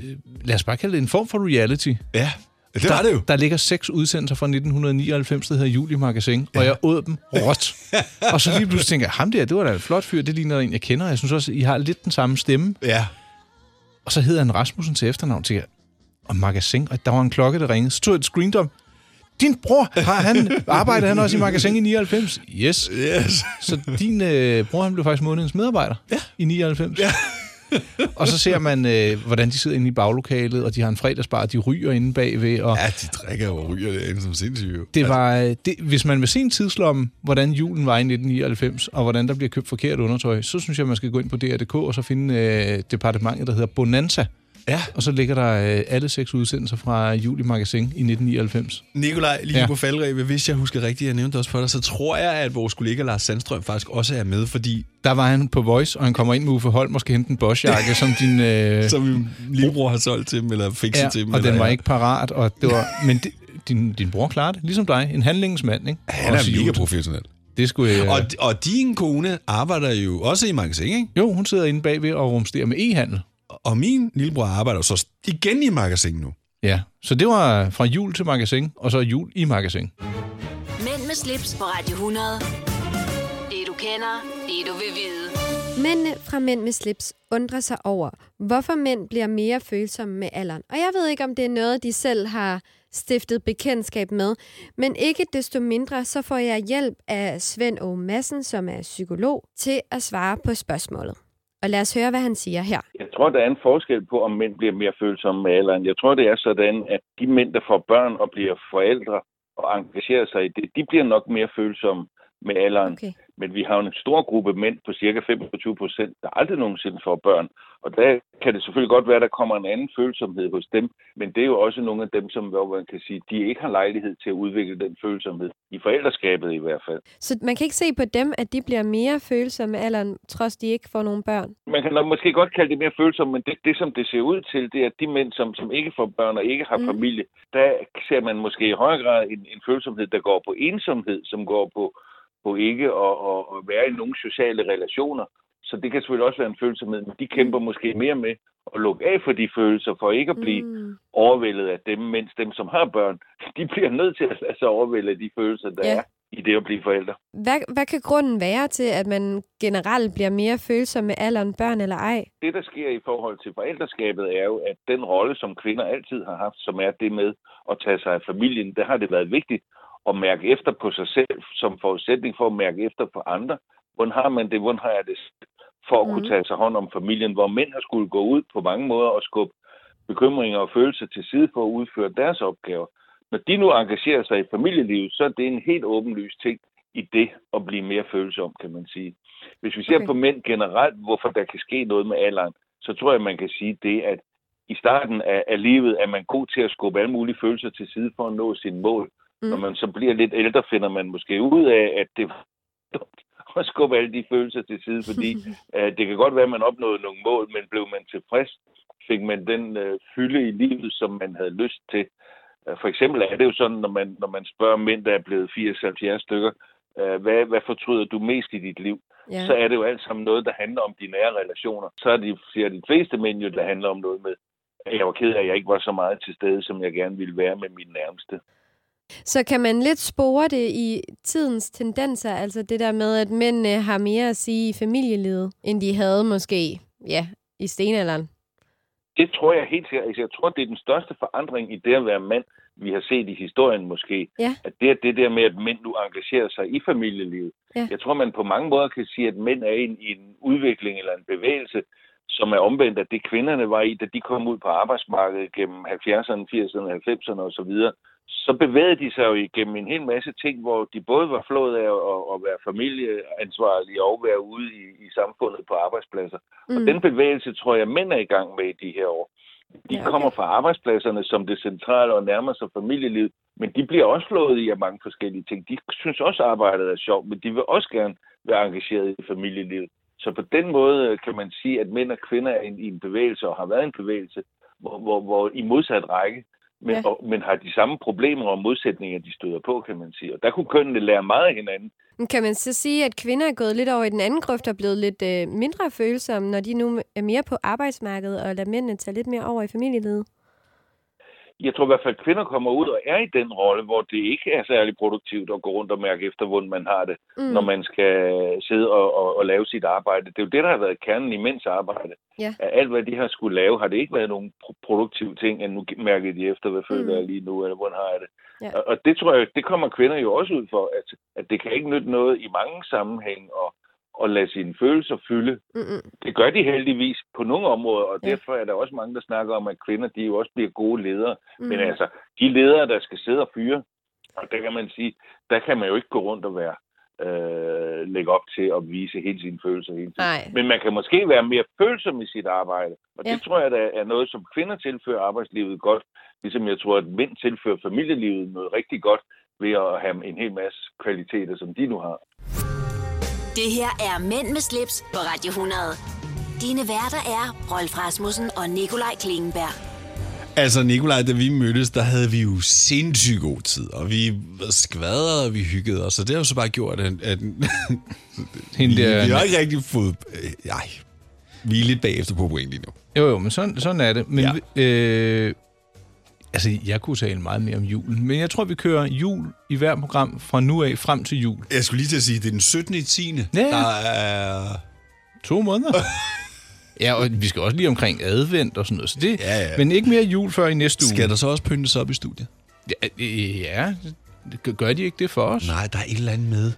[SPEAKER 2] lad os bare kalde det en form for reality.
[SPEAKER 3] Ja, det var det jo.
[SPEAKER 2] Der ligger seks udsendelser fra 1999, der hedder Juli Magasin, ja. og jeg åd dem råt. og så lige pludselig tænker jeg, ham der, det var da en flot fyr, det ligner en, jeg kender. Jeg synes også, I har lidt den samme stemme.
[SPEAKER 3] Ja.
[SPEAKER 2] Og så hedder han Rasmussen til efternavn, til jeg. Og magasin, og der var en klokke, der ringede. Så tog jeg et screendom. Din bror, har han, arbejder han også i magasin i 99? Yes.
[SPEAKER 3] Yes.
[SPEAKER 2] Så din øh, bror, han blev faktisk månedens medarbejder ja. i 99. Ja. og så ser man, øh, hvordan de sidder inde i baglokalet, og de har en fredagsbar, og de ryger inde bagved. Og
[SPEAKER 3] Ja, de drikker og ryger derinde som sindssyge. jo.
[SPEAKER 2] det var, øh, det, hvis man vil se en tidslomme, hvordan julen var i 1999, og hvordan der bliver købt forkert undertøj, så synes jeg, man skal gå ind på DR.dk og så finde øh, departementet, der hedder Bonanza.
[SPEAKER 3] Ja.
[SPEAKER 2] Og så ligger der øh, alle seks udsendelser fra Juli Magasin i 1999.
[SPEAKER 3] Nikolaj, lige
[SPEAKER 2] Ja.
[SPEAKER 3] ja. på faldrebe, hvis jeg husker rigtigt, jeg nævnte det også for dig, så tror jeg, at vores kollega Lars Sandstrøm faktisk også er med, fordi...
[SPEAKER 2] Der var han på Voice, og han kommer ind med Uffe Holm og skal hente en Bosch-jakke, som din... Øh,
[SPEAKER 3] Som min lillebror har solgt til dem, eller fikset til dem.
[SPEAKER 2] og
[SPEAKER 3] eller
[SPEAKER 2] den var
[SPEAKER 3] ja.
[SPEAKER 2] ikke parat, og det var... Men det, din, din bror klarer det, ligesom dig. En handlingsmand, ikke?
[SPEAKER 3] Han
[SPEAKER 2] Også i
[SPEAKER 3] er mega
[SPEAKER 2] jul.
[SPEAKER 3] professionel.
[SPEAKER 2] Det skulle øh, jeg...
[SPEAKER 3] Og, og din kone arbejder jo også i magasin, ikke?
[SPEAKER 2] Jo, hun sidder inde bagved og rumsterer med e-handel.
[SPEAKER 3] Og min lillebror arbejder jo så igen i magasin nu.
[SPEAKER 2] Ja, så det var fra jul til magasin, og så jul i magasin.
[SPEAKER 1] Mænd med slips på Radio 100. Det du kender, det du vil vide.
[SPEAKER 8] Mændene fra Mænd med slips undrer sig over, hvorfor mænd bliver mere følsomme med alderen. Og jeg ved ikke, om det er noget, de selv har stiftet bekendtskab med, men ikke desto mindre, så får jeg hjælp af Svend O. Madsen, som er psykolog, til at svare på spørgsmålet. Og lad os høre, hvad han siger her.
[SPEAKER 9] Jeg tror, der er en forskel på, om mænd bliver mere følsomme med alderen. Jeg tror, det er sådan, at de mænd, der får børn og bliver forældre og engagerer sig i det, de bliver nok mere følsomme med alderen.
[SPEAKER 8] Okay.
[SPEAKER 9] Men vi har jo en stor gruppe mænd på cirka 25 procent, der aldrig nogensinde får børn. Og der kan det selvfølgelig godt være, at der kommer en anden følsomhed hos dem, men det er jo også nogle af dem, som hvor man kan sige, de ikke har lejlighed til at udvikle den følsomhed, i forældreskabet i hvert fald.
[SPEAKER 8] Så man kan ikke se på dem, at de bliver mere følsomme med alderen, trods de ikke får nogen børn.
[SPEAKER 9] Man kan nok måske godt kalde det mere følsomt, men det, det som det ser ud til, det er, at de mænd, som, som ikke får børn og ikke har
[SPEAKER 8] Mm.
[SPEAKER 9] mm. familie, der ser man måske i højere grad en, en følsomhed, der går på ensomhed, som går på, på ikke at, at, at være i nogle sociale relationer. Så det kan selvfølgelig også være en følsomhed, men de kæmper
[SPEAKER 8] Mm.
[SPEAKER 9] måske mere med at lukke af for de følelser, for ikke at blive mm. overvældet af dem, mens dem, som har børn, de bliver nødt til at lade sig overvælde af de følelser, der
[SPEAKER 8] Ja.
[SPEAKER 9] er i det at blive forældre.
[SPEAKER 8] Hvad, hvad kan grunden være til, at man generelt bliver mere følsom med alderen, børn eller ej?
[SPEAKER 9] det, der sker i forhold til forældreskabet, er jo, at den rolle, som kvinder altid har haft, som er det med at tage sig af familien, der har det været vigtigt at mærke efter på sig selv, som forudsætning for at mærke efter på andre. Hvordan har man det? Hvordan har jeg det? For at mm. kunne tage sig hånd om familien, hvor mænd har skulle gå ud på mange måder og skubbe bekymringer og følelser til side for at udføre deres opgaver. Når de nu engagerer sig i familielivet, så er det en helt åbenlys ting i det at blive mere følsom, kan man sige. Hvis vi ser
[SPEAKER 10] Okay.
[SPEAKER 9] okay. på mænd generelt, hvorfor der kan ske noget med alderen, så tror jeg, man kan sige det, at i starten af, af livet er man god til at skubbe alle mulige følelser til side for at nå sine mål.
[SPEAKER 8] Mm.
[SPEAKER 9] Mm. Når man så bliver lidt ældre, finder man måske ud af, at det var dumt at skubbe alle de følelser til side, fordi øh, det kan godt være, at man opnåede nogle mål, men blev man tilfreds, fik man den øh, fylde i livet, som man havde lyst til. Øh, For eksempel er det jo sådan, når man, når man spørger mænd, der er blevet 80-70 stykker, øh, hvad, hvad fortryder du mest i dit liv?
[SPEAKER 8] Ja.
[SPEAKER 9] så er det jo alt sammen noget, der handler om de nære relationer. Så er det, siger de fleste mænd jo, der handler om noget med, at jeg var ked af, at jeg ikke var så meget til stede, som jeg gerne ville være med mine nærmeste.
[SPEAKER 8] Så kan man lidt spore det i tidens tendenser, altså det der med, at mændene har mere at sige i familielivet, end de havde måske, ja, i stenalderen.
[SPEAKER 9] Det tror jeg helt sikkert. Altså, jeg tror, det er den største forandring i det at være mand, vi har set i historien måske.
[SPEAKER 8] Ja.
[SPEAKER 9] At det er det der med, at mænd nu engagerer sig i familielivet.
[SPEAKER 8] Ja.
[SPEAKER 9] Jeg tror, man på mange måder kan sige, at mænd er i en, i en udvikling eller en bevægelse, som er omvendt af det, kvinderne var i, da de kom ud på arbejdsmarkedet gennem 70'erne, 80'erne, 90'erne osv. Så bevægede de sig jo igennem en hel masse ting, hvor de både var flået af at, at være familieansvarlige og være ude i, i samfundet på arbejdspladser. Mm. Og
[SPEAKER 10] Mm.
[SPEAKER 9] den bevægelse tror jeg, mænd er i gang med i de her år. De
[SPEAKER 10] Ja, okay.
[SPEAKER 9] kommer fra arbejdspladserne som det centrale og nærmer sig familielivet, men de bliver også flået i af mange forskellige ting. De synes også, at arbejdet er sjovt, men de vil også gerne være engageret i familielivet. Så på den måde øh, kan man sige, at mænd og kvinder er i- i en bevægelse og har været i en bevægelse, hvor, hvor, hvor i modsat række, men,
[SPEAKER 10] Ja.
[SPEAKER 9] ja. og, men har de samme problemer og modsætninger, de støder på, kan man sige. Og der kunne kønnene lære meget af hinanden.
[SPEAKER 8] Men kan man så sige, at kvinder er gået lidt over i den anden grøft og er blevet lidt øh, mindre følsomme, når de nu er mere på arbejdsmarkedet og lader mændene tage lidt mere over i familielivet?
[SPEAKER 9] jeg tror i hvert fald, at kvinder kommer ud og er i den rolle, hvor det ikke er særlig produktivt at gå rundt og mærke efter, hvordan man har det,
[SPEAKER 8] Mm.
[SPEAKER 9] mm. når man skal sidde og, og, og lave sit arbejde. Det er jo det, der har været kernen i mænds arbejde.
[SPEAKER 8] Ja.
[SPEAKER 9] At alt, hvad de har skulle lave, har det ikke været nogen pro- produktive ting, at nu mærker de efter, hvad føler
[SPEAKER 8] Mm.
[SPEAKER 9] jeg lige nu, eller hvordan har jeg det.
[SPEAKER 8] Ja.
[SPEAKER 9] Og, og det tror jeg, det kommer kvinder jo også ud for, at, at det kan ikke nytte noget i mange sammenhæng at, at lade sine følelser fylde
[SPEAKER 8] Mm-mm.
[SPEAKER 9] det gør de heldigvis på nogle områder, og
[SPEAKER 8] Ja.
[SPEAKER 9] ja. derfor er der også mange, der snakker om, at kvinder de jo også bliver gode ledere.
[SPEAKER 8] Mm.
[SPEAKER 9] Mm. Men altså, de ledere, der skal sidde og fyre, og der kan man sige, der kan man jo ikke gå rundt og være øh, lægge op til at vise hele sine følelser hele tiden.
[SPEAKER 8] Nej.
[SPEAKER 9] Men man kan måske være mere følsom i sit arbejde, og ja.
[SPEAKER 8] Ja.
[SPEAKER 9] det tror jeg, der er noget, som kvinder tilfører arbejdslivet godt, ligesom jeg tror, at mænd tilfører familielivet noget rigtig godt ved at have en hel masse kvaliteter, som de nu har.
[SPEAKER 1] Det her er Mænd med slips på Radio 100. Dine værter er Rolf Rasmussen og Nikolaj Klingenberg.
[SPEAKER 3] Altså, Nikolaj, da vi mødtes, der havde vi jo sindssygt god tid, og vi skvadrede, og vi hyggede os, og det har jo så bare gjort, at... at
[SPEAKER 2] Hende
[SPEAKER 3] vi,
[SPEAKER 2] der-
[SPEAKER 3] vi har ikke rigtig fået... Øh, ej, vi er lidt bagefter på point lige nu.
[SPEAKER 2] Jo, jo, men sådan, sådan er det. Men ja. øh, altså, jeg kunne tale meget mere om julen, men jeg tror, vi kører jul i hver program fra nu af frem til jul.
[SPEAKER 3] Jeg skulle lige til at sige, det er den 17. i 10.
[SPEAKER 2] Ja.
[SPEAKER 3] Der er...
[SPEAKER 2] To måneder. ja, og vi skal også lige omkring advent og sådan noget. Så det,
[SPEAKER 3] Ja, ja.
[SPEAKER 2] Men ikke mere jul før i næste uge.
[SPEAKER 3] Skal der så også pyntes op i studiet?
[SPEAKER 2] Ja, øh, ja, det- gør de ikke det for os?
[SPEAKER 3] Nej, der er et eller andet med.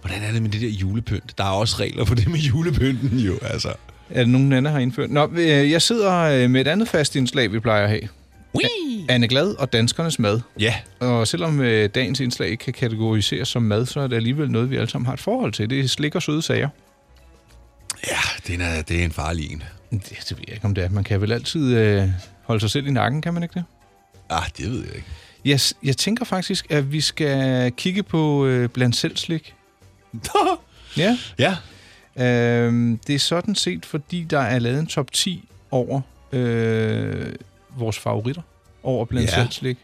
[SPEAKER 3] Hvordan er det med det der julepynt? Der er også regler for det med julepynten jo, altså.
[SPEAKER 2] Er det nogen, Anna har indført? Nå, øh, jeg sidder øh, med et andet fast indslag, vi plejer at have. A- Anne Glad og danskernes mad.
[SPEAKER 3] Ja.
[SPEAKER 2] Og selvom øh, dagens indslag ikke kan kategoriseres som mad, så er det alligevel noget, vi alle sammen har et forhold til. Det er slik og søde sager.
[SPEAKER 3] Det er, det er en farlig en.
[SPEAKER 2] Det, det ved jeg ikke, om det er. Man kan vel altid øh, holde sig selv i nakken, kan man ikke det?
[SPEAKER 3] Ah, det ved jeg ikke.
[SPEAKER 2] Jeg, s- jeg tænker faktisk, at vi skal kigge på øh, blandt selv slik. ja.
[SPEAKER 3] ja.
[SPEAKER 2] Øhm, det er sådan set, fordi der er lavet en top 10 over øh, vores favoritter over blandt
[SPEAKER 3] Ja.
[SPEAKER 2] ja. selv slik.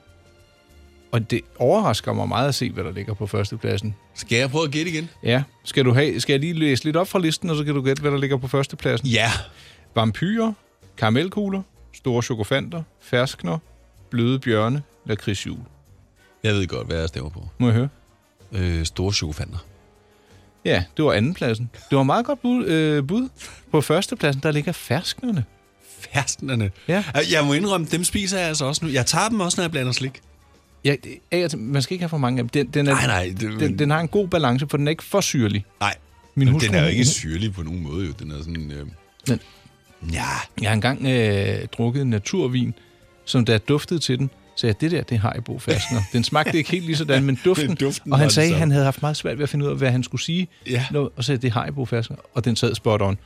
[SPEAKER 2] Og det overrasker mig meget at se, hvad der ligger på førstepladsen.
[SPEAKER 3] Skal jeg prøve at gætte igen?
[SPEAKER 2] Ja. Skal, du have, skal jeg lige læse lidt op fra listen, og så kan du gætte, hvad der ligger på førstepladsen?
[SPEAKER 3] Ja.
[SPEAKER 2] Vampyrer, karamelkugler, store chokofanter, ferskner, bløde bjørne, lakridsjul.
[SPEAKER 3] Jeg ved godt, hvad jeg stemmer på.
[SPEAKER 2] Må jeg høre?
[SPEAKER 3] Øh, store chokofanter.
[SPEAKER 2] Ja, det var andenpladsen. Det var meget godt bud. Øh, bud. På førstepladsen, der ligger fersknerne.
[SPEAKER 3] Fersknerne?
[SPEAKER 2] Ja.
[SPEAKER 3] Øh, Jeg må indrømme, dem spiser jeg altså også nu. Jeg tager dem også, når jeg blander slik.
[SPEAKER 2] Ja, det- af og til- man skal ikke have for mange af dem. Den, den, er,
[SPEAKER 3] Nej, nej, det-
[SPEAKER 2] den, den har en god balance, for den er ikke for syrlig.
[SPEAKER 3] Nej.
[SPEAKER 2] Min hustru,
[SPEAKER 3] den er jo
[SPEAKER 2] hun-
[SPEAKER 3] ikke syrlig på nogen måde, jo. Den er sådan... Øh...
[SPEAKER 2] Men,
[SPEAKER 3] ja.
[SPEAKER 2] Jeg har engang øh, drukket en naturvin, som da jeg duftede til den, sagde jeg, det der, det har jeg brug fastner. Den smagte ikke helt lige sådan, men duften.
[SPEAKER 3] Men duften
[SPEAKER 2] og
[SPEAKER 3] var
[SPEAKER 2] han
[SPEAKER 3] den
[SPEAKER 2] sagde, at
[SPEAKER 3] samme.
[SPEAKER 2] han havde haft meget svært ved at finde ud af, hvad han skulle sige.
[SPEAKER 3] Ja.
[SPEAKER 2] Nå, og sagde, det har jeg brug fastner. Og den sad spot on.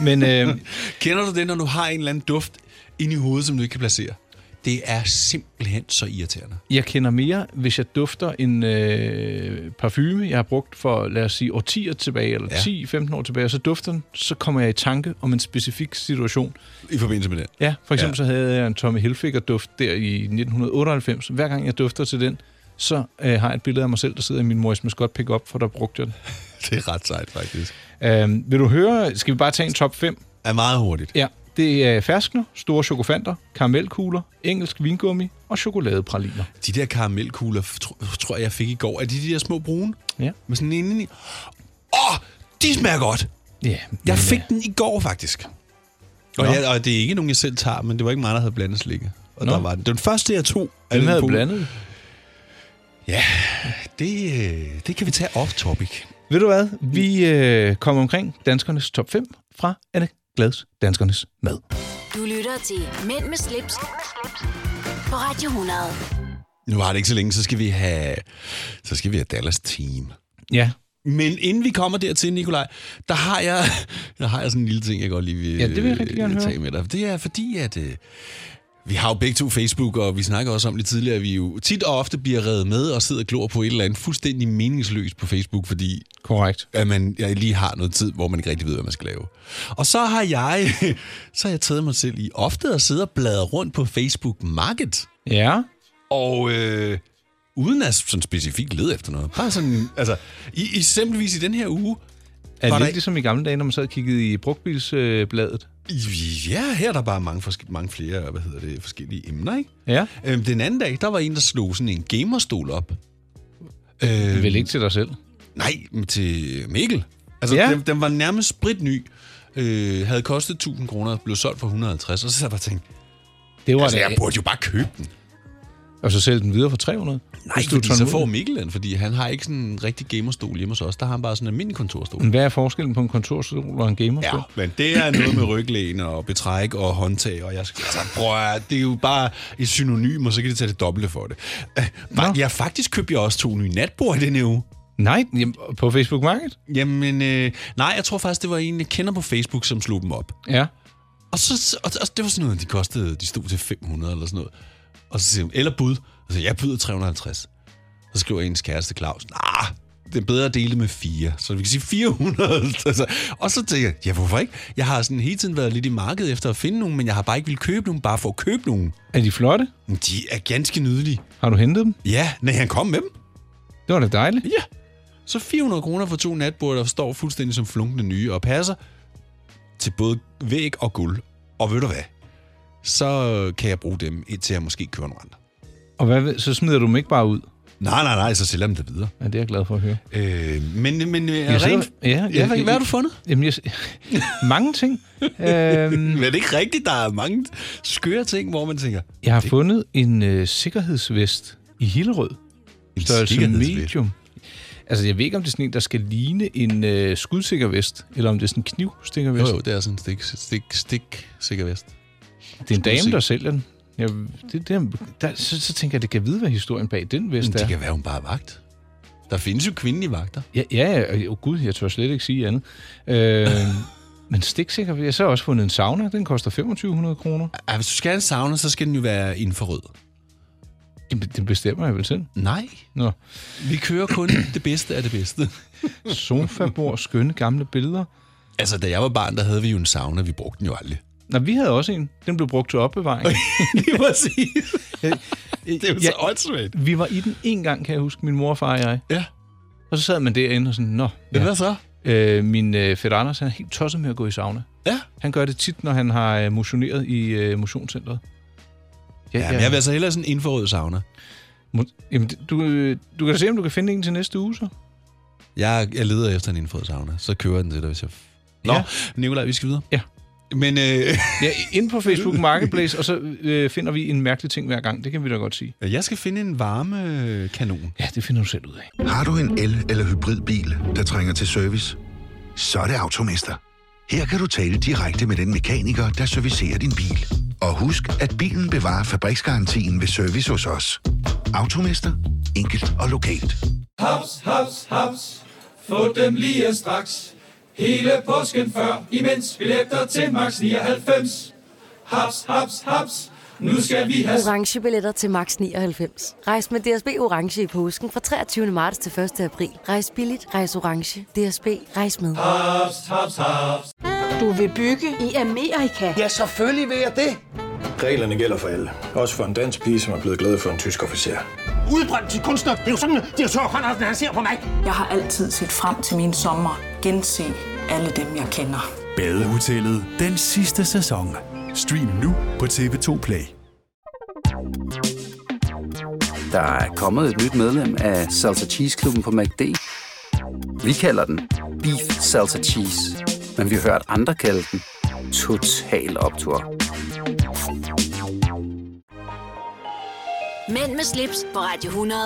[SPEAKER 2] Men øh,
[SPEAKER 3] Kender du det, når du har en eller anden duft ind i hovedet, som du ikke kan placere? Det er simpelthen så irriterende.
[SPEAKER 2] jeg kender mere, hvis jeg dufter en øh, parfume, jeg har brugt for, lad os sige, årtier tilbage, eller ja. 10-15 år tilbage, og så dufter den, så kommer jeg i tanke om en specifik situation.
[SPEAKER 3] I forbindelse med det.
[SPEAKER 2] Ja, for eksempel ja. så havde jeg en Tommy Hilfiger-duft der i 1998. Hver gang jeg dufter til den, så øh, har jeg et billede af mig selv, der sidder i min Morris Mascot pick-up, for der brugte jeg den.
[SPEAKER 3] Det er ret sejt, faktisk.
[SPEAKER 2] Øhm, vil du høre, skal vi bare tage en top 5?
[SPEAKER 3] Er meget hurtigt.
[SPEAKER 2] Ja, det er ferskner, store chokofanter, karamelkugler, engelsk vingummi og chokoladepraliner.
[SPEAKER 3] De der karamelkugler, tr- tror jeg, jeg fik i går. Er de de der små brune?
[SPEAKER 2] Ja.
[SPEAKER 3] Med sådan en indeni. Åh, de smager godt!
[SPEAKER 2] Ja,
[SPEAKER 3] Jeg fik
[SPEAKER 2] øh,
[SPEAKER 3] den i går, faktisk. Og, jeg, og det er ikke nogen, jeg selv tager, men det var ikke mig, der havde blandet slikket. Og
[SPEAKER 2] Nå.
[SPEAKER 3] der var den. Den første, jeg tog... af
[SPEAKER 2] Hvem
[SPEAKER 3] den
[SPEAKER 2] havde
[SPEAKER 3] pose-
[SPEAKER 2] blandet?
[SPEAKER 3] Ja, det, øh, det kan vi tage off-topic.
[SPEAKER 2] Ved du hvad? Vi øh, kommer omkring danskernes top 5 fra Anne Glads Danskernes Mad.
[SPEAKER 1] Du lytter til Mænd med slips, på Radio 100.
[SPEAKER 3] Nu var det ikke så længe, så skal vi have, så skal vi have Dallas Team.
[SPEAKER 2] Ja.
[SPEAKER 3] Men inden vi kommer dertil, Nikolaj, der har jeg, der har jeg sådan en lille ting, jeg godt lige vil,
[SPEAKER 2] Ja, det vil jeg rigtig gerne
[SPEAKER 3] øh, tage
[SPEAKER 2] høre.
[SPEAKER 3] med dig. Det er fordi, at øh, vi har jo begge to Facebook, og vi snakker også om det tidligere, at vi jo tit og ofte bliver reddet med og sidder og glor på et eller andet fuldstændig meningsløst på Facebook, fordi
[SPEAKER 2] Korrekt.
[SPEAKER 3] at man jeg lige har noget tid, hvor man ikke rigtig ved, hvad man skal lave. Og så har jeg, så har jeg taget mig selv i ofte at sidde og bladre rundt på Facebook Market.
[SPEAKER 2] Ja.
[SPEAKER 3] Og øh, uden at sådan specifikt lede efter noget. Bare sådan, altså, i, eksempelvis i den her uge,
[SPEAKER 2] Er
[SPEAKER 3] var
[SPEAKER 2] det
[SPEAKER 3] der,
[SPEAKER 2] lidt ligesom i gamle dage, når man sad og kiggede i brugtbilsbladet? Øh, bladet?
[SPEAKER 3] ja, her er der bare mange, forske, mange flere, hvad hedder det, forskellige emner, ikke?
[SPEAKER 2] ja.
[SPEAKER 3] Øhm, den anden dag, der var en, der slog sådan en gamerstol op. Øh,
[SPEAKER 2] Vel ikke til dig selv?
[SPEAKER 3] Nej, men til Mikkel. Altså,
[SPEAKER 2] Ja.
[SPEAKER 3] ja. den, den var nærmest spritny. Øh, havde kostet 1000 kroner og blev solgt for 150. Og så sad jeg bare og tænkte,
[SPEAKER 2] Det var
[SPEAKER 3] altså,
[SPEAKER 2] da-
[SPEAKER 3] jeg burde jo bare købe den.
[SPEAKER 2] Og så sælge den videre for 300?
[SPEAKER 3] Nej,
[SPEAKER 2] Hvis du
[SPEAKER 3] fordi
[SPEAKER 2] tager
[SPEAKER 3] så
[SPEAKER 2] den ud.
[SPEAKER 3] får Mikkel den, fordi han har ikke sådan en rigtig gamerstol hjemme hos os. Der har han bare sådan en almindelig kontorstol.
[SPEAKER 2] Men Hvad er forskellen på en kontorstol og en gamerstol?
[SPEAKER 3] Ja, men det er noget med ryglæn og betræk og håndtag, og jeg skal, altså, prøv at, det er jo bare et synonym, og så kan de tage det dobbelte for det. Øh, Bare, ja, faktisk købte jeg også to nye natbord i denne uge.
[SPEAKER 2] Nej, jamen, på Facebook Market?
[SPEAKER 3] Jamen, øh, nej, jeg tror faktisk, det var en, jeg kender på Facebook, som slog dem op.
[SPEAKER 2] Ja.
[SPEAKER 3] Og, så, og, og det var sådan noget, de kostede, de stod til 500 eller sådan noget. Og så siger hun, eller bud. Og så jeg byder 350. Så skriver ens kæreste Claus, nah, det er bedre at dele med fire. Så vi kan sige 400. altså, og så tænker jeg, ja, hvorfor ikke? Jeg har sådan hele tiden været lidt i markedet efter at finde nogen, men jeg har bare ikke vil købe nogen, bare for at købe nogen.
[SPEAKER 2] Er de flotte?
[SPEAKER 3] De er ganske nydelige.
[SPEAKER 2] Har du hentet dem?
[SPEAKER 3] Ja, nej, han kom med dem.
[SPEAKER 2] Det var da dejligt.
[SPEAKER 3] Ja. Så 400 kroner for to natbord, der står fuldstændig som flunkende nye og passer til både væg og guld. Og ved du hvad? Så kan jeg bruge dem, indtil jeg måske kører nogle andre.
[SPEAKER 2] Og hvad, ved- så smider du dem ikke bare ud?
[SPEAKER 3] Nej, nej, nej, så sælger dem det videre.
[SPEAKER 2] Ja, det er jeg glad for at høre.
[SPEAKER 3] Øh, men men øh,
[SPEAKER 2] Jeg sidder-
[SPEAKER 3] rent... ja, ja, hvad, hvad har du fundet?
[SPEAKER 2] Jamen, jeg, mange ting. øhm,
[SPEAKER 3] Men er det ikke rigtigt? Der er mange skøre ting, hvor man tænker...
[SPEAKER 2] jeg har fundet en øh, sikkerhedsvest i Hillerød.
[SPEAKER 3] En
[SPEAKER 2] Størrelse
[SPEAKER 3] sikkerhedsvest?
[SPEAKER 2] medium. Altså, jeg ved ikke, om det er sådan en, der skal ligne en øh, skudsikker vest, eller om det er sådan en knivstikkervest.
[SPEAKER 3] Jo, jo, det er sådan en stik, stik, stik sikker vest.
[SPEAKER 2] Det er en dame, der sælger den. Ja, det, det, der, så, så tænker jeg, det kan vide, hvad historien bag den vest
[SPEAKER 3] Men det
[SPEAKER 2] er.
[SPEAKER 3] kan være, hun bare er vagt. Der findes jo kvindelige vagter.
[SPEAKER 2] Ja, ja, ja oh, gud, jeg tør slet ikke sige andet. Øh, men stiksikker, jeg har så også fundet en sauna, den koster 2500 kroner.
[SPEAKER 3] Ja, hvis du skal have en sauna, så skal den jo være infrarød.
[SPEAKER 2] Jamen, det bestemmer jeg vel selv.
[SPEAKER 3] Nej,
[SPEAKER 2] Nå.
[SPEAKER 3] vi kører kun det bedste af det bedste.
[SPEAKER 2] Sofabord, skønne gamle billeder.
[SPEAKER 3] Altså, da jeg var barn, der havde vi jo en sauna, vi brugte den jo aldrig.
[SPEAKER 2] Nå, vi havde også en. Den blev brugt til opbevaring.
[SPEAKER 3] Lige præcis. det er jo så
[SPEAKER 2] Ja.
[SPEAKER 3] åndssvagt.
[SPEAKER 2] vi var i den en gang, kan jeg huske, min mor og far og jeg.
[SPEAKER 3] Ja.
[SPEAKER 2] Og så sad man derinde og sådan, nå.
[SPEAKER 3] Men hvad så?
[SPEAKER 2] Øh, min øh, fætter Anders, han er helt tosset med at gå i sauna.
[SPEAKER 3] Ja.
[SPEAKER 2] Han gør det tit, når han har øh, motioneret i øh, motionscenteret.
[SPEAKER 3] Ja, ja, men jeg vil altså hellere sådan en infrarød sauna.
[SPEAKER 2] Må- Jamen, det- du, øh, du kan da se, om du kan finde en til næste uge, så.
[SPEAKER 3] Jeg, jeg leder efter en indfået sauna, så kører jeg den til dig, hvis jeg... Nå,
[SPEAKER 2] Ja.
[SPEAKER 3] ja. Nikolaj, vi skal videre.
[SPEAKER 2] Ja.
[SPEAKER 3] Men øh,
[SPEAKER 2] Ja, ind på Facebook Marketplace, og så øh, finder vi en mærkelig ting hver gang. Det kan vi da godt sige.
[SPEAKER 3] jeg skal finde en varme kanon.
[SPEAKER 2] Ja, det finder du selv ud af.
[SPEAKER 10] Har du en el- eller hybridbil, der trænger til service? Så er det Automester. Her kan du tale direkte med den mekaniker, der servicerer din bil. Og husk, at bilen bevarer fabriksgarantien ved service hos os. Automester. Enkelt og lokalt.
[SPEAKER 11] Haps, haps, haps. Få dem lige straks. Hele påsken før, imens billetter til max 99. Haps, haps, haps. Nu skal vi have...
[SPEAKER 12] orange billetter til max 99. Rejs med DSB orange i påsken fra 23. marts til 1. april. Rejs billigt, rejs orange. DSB rejs med.
[SPEAKER 11] Haps, haps, haps.
[SPEAKER 13] Du vil bygge i Amerika? Ja, selvfølgelig vil jeg det.
[SPEAKER 14] Reglerne gælder for alle. Også for en dansk pige, som er blevet glad for en tysk officer.
[SPEAKER 15] Udbrændt til kunstner. Det er jo sådan, at de har tørt, han, han ser på mig.
[SPEAKER 16] Jeg har altid set frem til min sommer, gense alle dem, jeg kender.
[SPEAKER 17] Badehotellet den sidste sæson. Stream nu på TV2 Play.
[SPEAKER 18] Der er kommet et nyt medlem af Salsa Cheese Klubben på MACD. Vi kalder den Beef Salsa Cheese, men vi har hørt andre kalde den Total Optor.
[SPEAKER 1] Mænd med slips på Radio 100.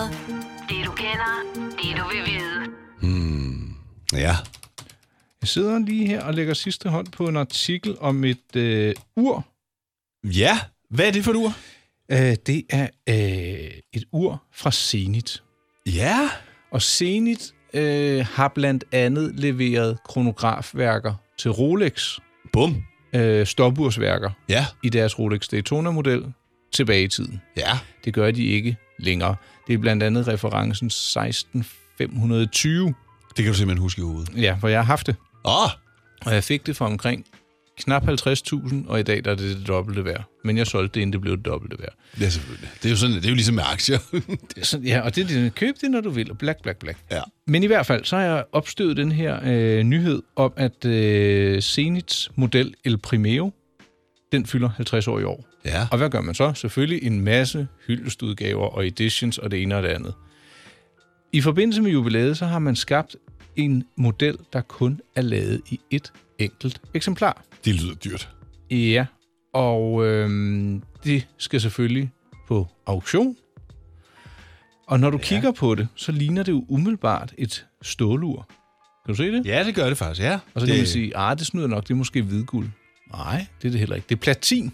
[SPEAKER 1] Det du kender, det du vil vide.
[SPEAKER 3] Hmm. Ja.
[SPEAKER 2] Jeg sidder lige her og lægger sidste hånd på en artikel om et øh, ur.
[SPEAKER 3] Ja, hvad er det for et ur?
[SPEAKER 2] Øh, det er øh, et ur fra Zenit.
[SPEAKER 3] Ja.
[SPEAKER 2] Og Zenit øh, har blandt andet leveret kronografværker til Rolex.
[SPEAKER 3] Bum.
[SPEAKER 2] Øh, stopursværker
[SPEAKER 3] Ja.
[SPEAKER 2] i deres Rolex Daytona-model tilbage i tiden.
[SPEAKER 3] Ja.
[SPEAKER 2] Det gør de ikke længere. Det er blandt andet referencen 16520.
[SPEAKER 3] Det kan du simpelthen huske i hovedet.
[SPEAKER 2] Ja, hvor jeg har haft det.
[SPEAKER 3] Åh!
[SPEAKER 2] Og jeg fik det for omkring knap 50.000, og i dag der er det det dobbelte værd. Men jeg solgte det, inden det blev det dobbelte værd.
[SPEAKER 3] Ja, selvfølgelig. Det er jo, sådan, det er jo ligesom med aktier.
[SPEAKER 2] Det er sådan, ja, og det er det, køb det, når du vil, og black, black, black.
[SPEAKER 3] Ja.
[SPEAKER 2] Men i hvert fald, så har jeg opstøvet den her øh, nyhed om, at øh, Zenits model El Primeo, den fylder 50 år i år.
[SPEAKER 3] Ja.
[SPEAKER 2] Og hvad gør man så? Selvfølgelig en masse hyldestudgaver og editions og det ene og det andet. I forbindelse med jubilæet, så har man skabt en model, der kun er lavet i et enkelt eksemplar.
[SPEAKER 3] Det lyder dyrt.
[SPEAKER 2] Ja, og øhm, det skal selvfølgelig på auktion. Og når du ja. kigger på det, så ligner det jo umiddelbart et stålur. Kan du se det?
[SPEAKER 3] Ja, det gør det faktisk, ja.
[SPEAKER 2] Og så kan man sige, ah, det snyder nok, det er måske hvidguld. Nej, det er det heller ikke. Det er platin.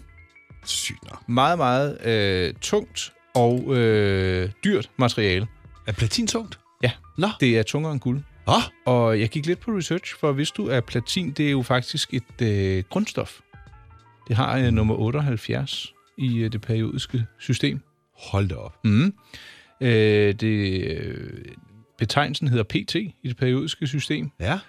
[SPEAKER 3] Sygt nok.
[SPEAKER 2] Meget, meget øh, tungt og øh, dyrt materiale.
[SPEAKER 3] Er platin tungt?
[SPEAKER 2] Ja, Nå. det er tungere end guld.
[SPEAKER 3] Nå.
[SPEAKER 2] Og jeg gik lidt på research, for hvis du er platin, det er jo faktisk et øh, grundstof. Det har øh, nummer 78 i øh, det periodiske system.
[SPEAKER 3] Hold da op.
[SPEAKER 2] Mm. Øh, det, øh, betegnelsen hedder PT i det periodiske system.
[SPEAKER 3] Ja.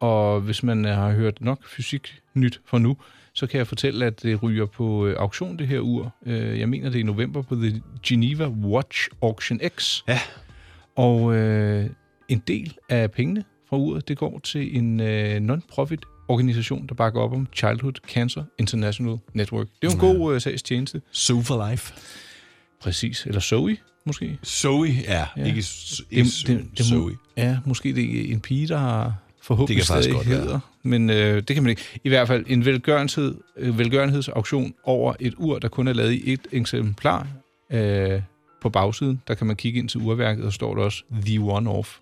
[SPEAKER 2] Og hvis man øh, har hørt nok fysik nyt for nu, så kan jeg fortælle, at det ryger på øh, auktion, det her ur. Øh, jeg mener, det er i november på The Geneva Watch Auction X.
[SPEAKER 3] Ja.
[SPEAKER 2] Og øh, en del af pengene fra uret, det går til en øh, non-profit organisation, der bakker op om Childhood Cancer International Network. Det er jo en god øh, sagstjeneste.
[SPEAKER 3] So for life.
[SPEAKER 2] Præcis. Eller Zoe, måske.
[SPEAKER 3] Zoe, ja. ja. Ikke, s- ikke
[SPEAKER 2] det, det, det,
[SPEAKER 3] Zoe.
[SPEAKER 2] Zoe. Ja, måske det er en pige, der har forhåbentlig
[SPEAKER 3] Det kan faktisk
[SPEAKER 2] stadig
[SPEAKER 3] godt være.
[SPEAKER 2] hedder. Men øh, det kan man ikke. I hvert fald en velgørenhed, øh, velgørenhedsauktion over et ur, der kun er lavet i et eksemplar. Øh, på bagsiden, der kan man kigge ind til urværket, og står der også The One Off.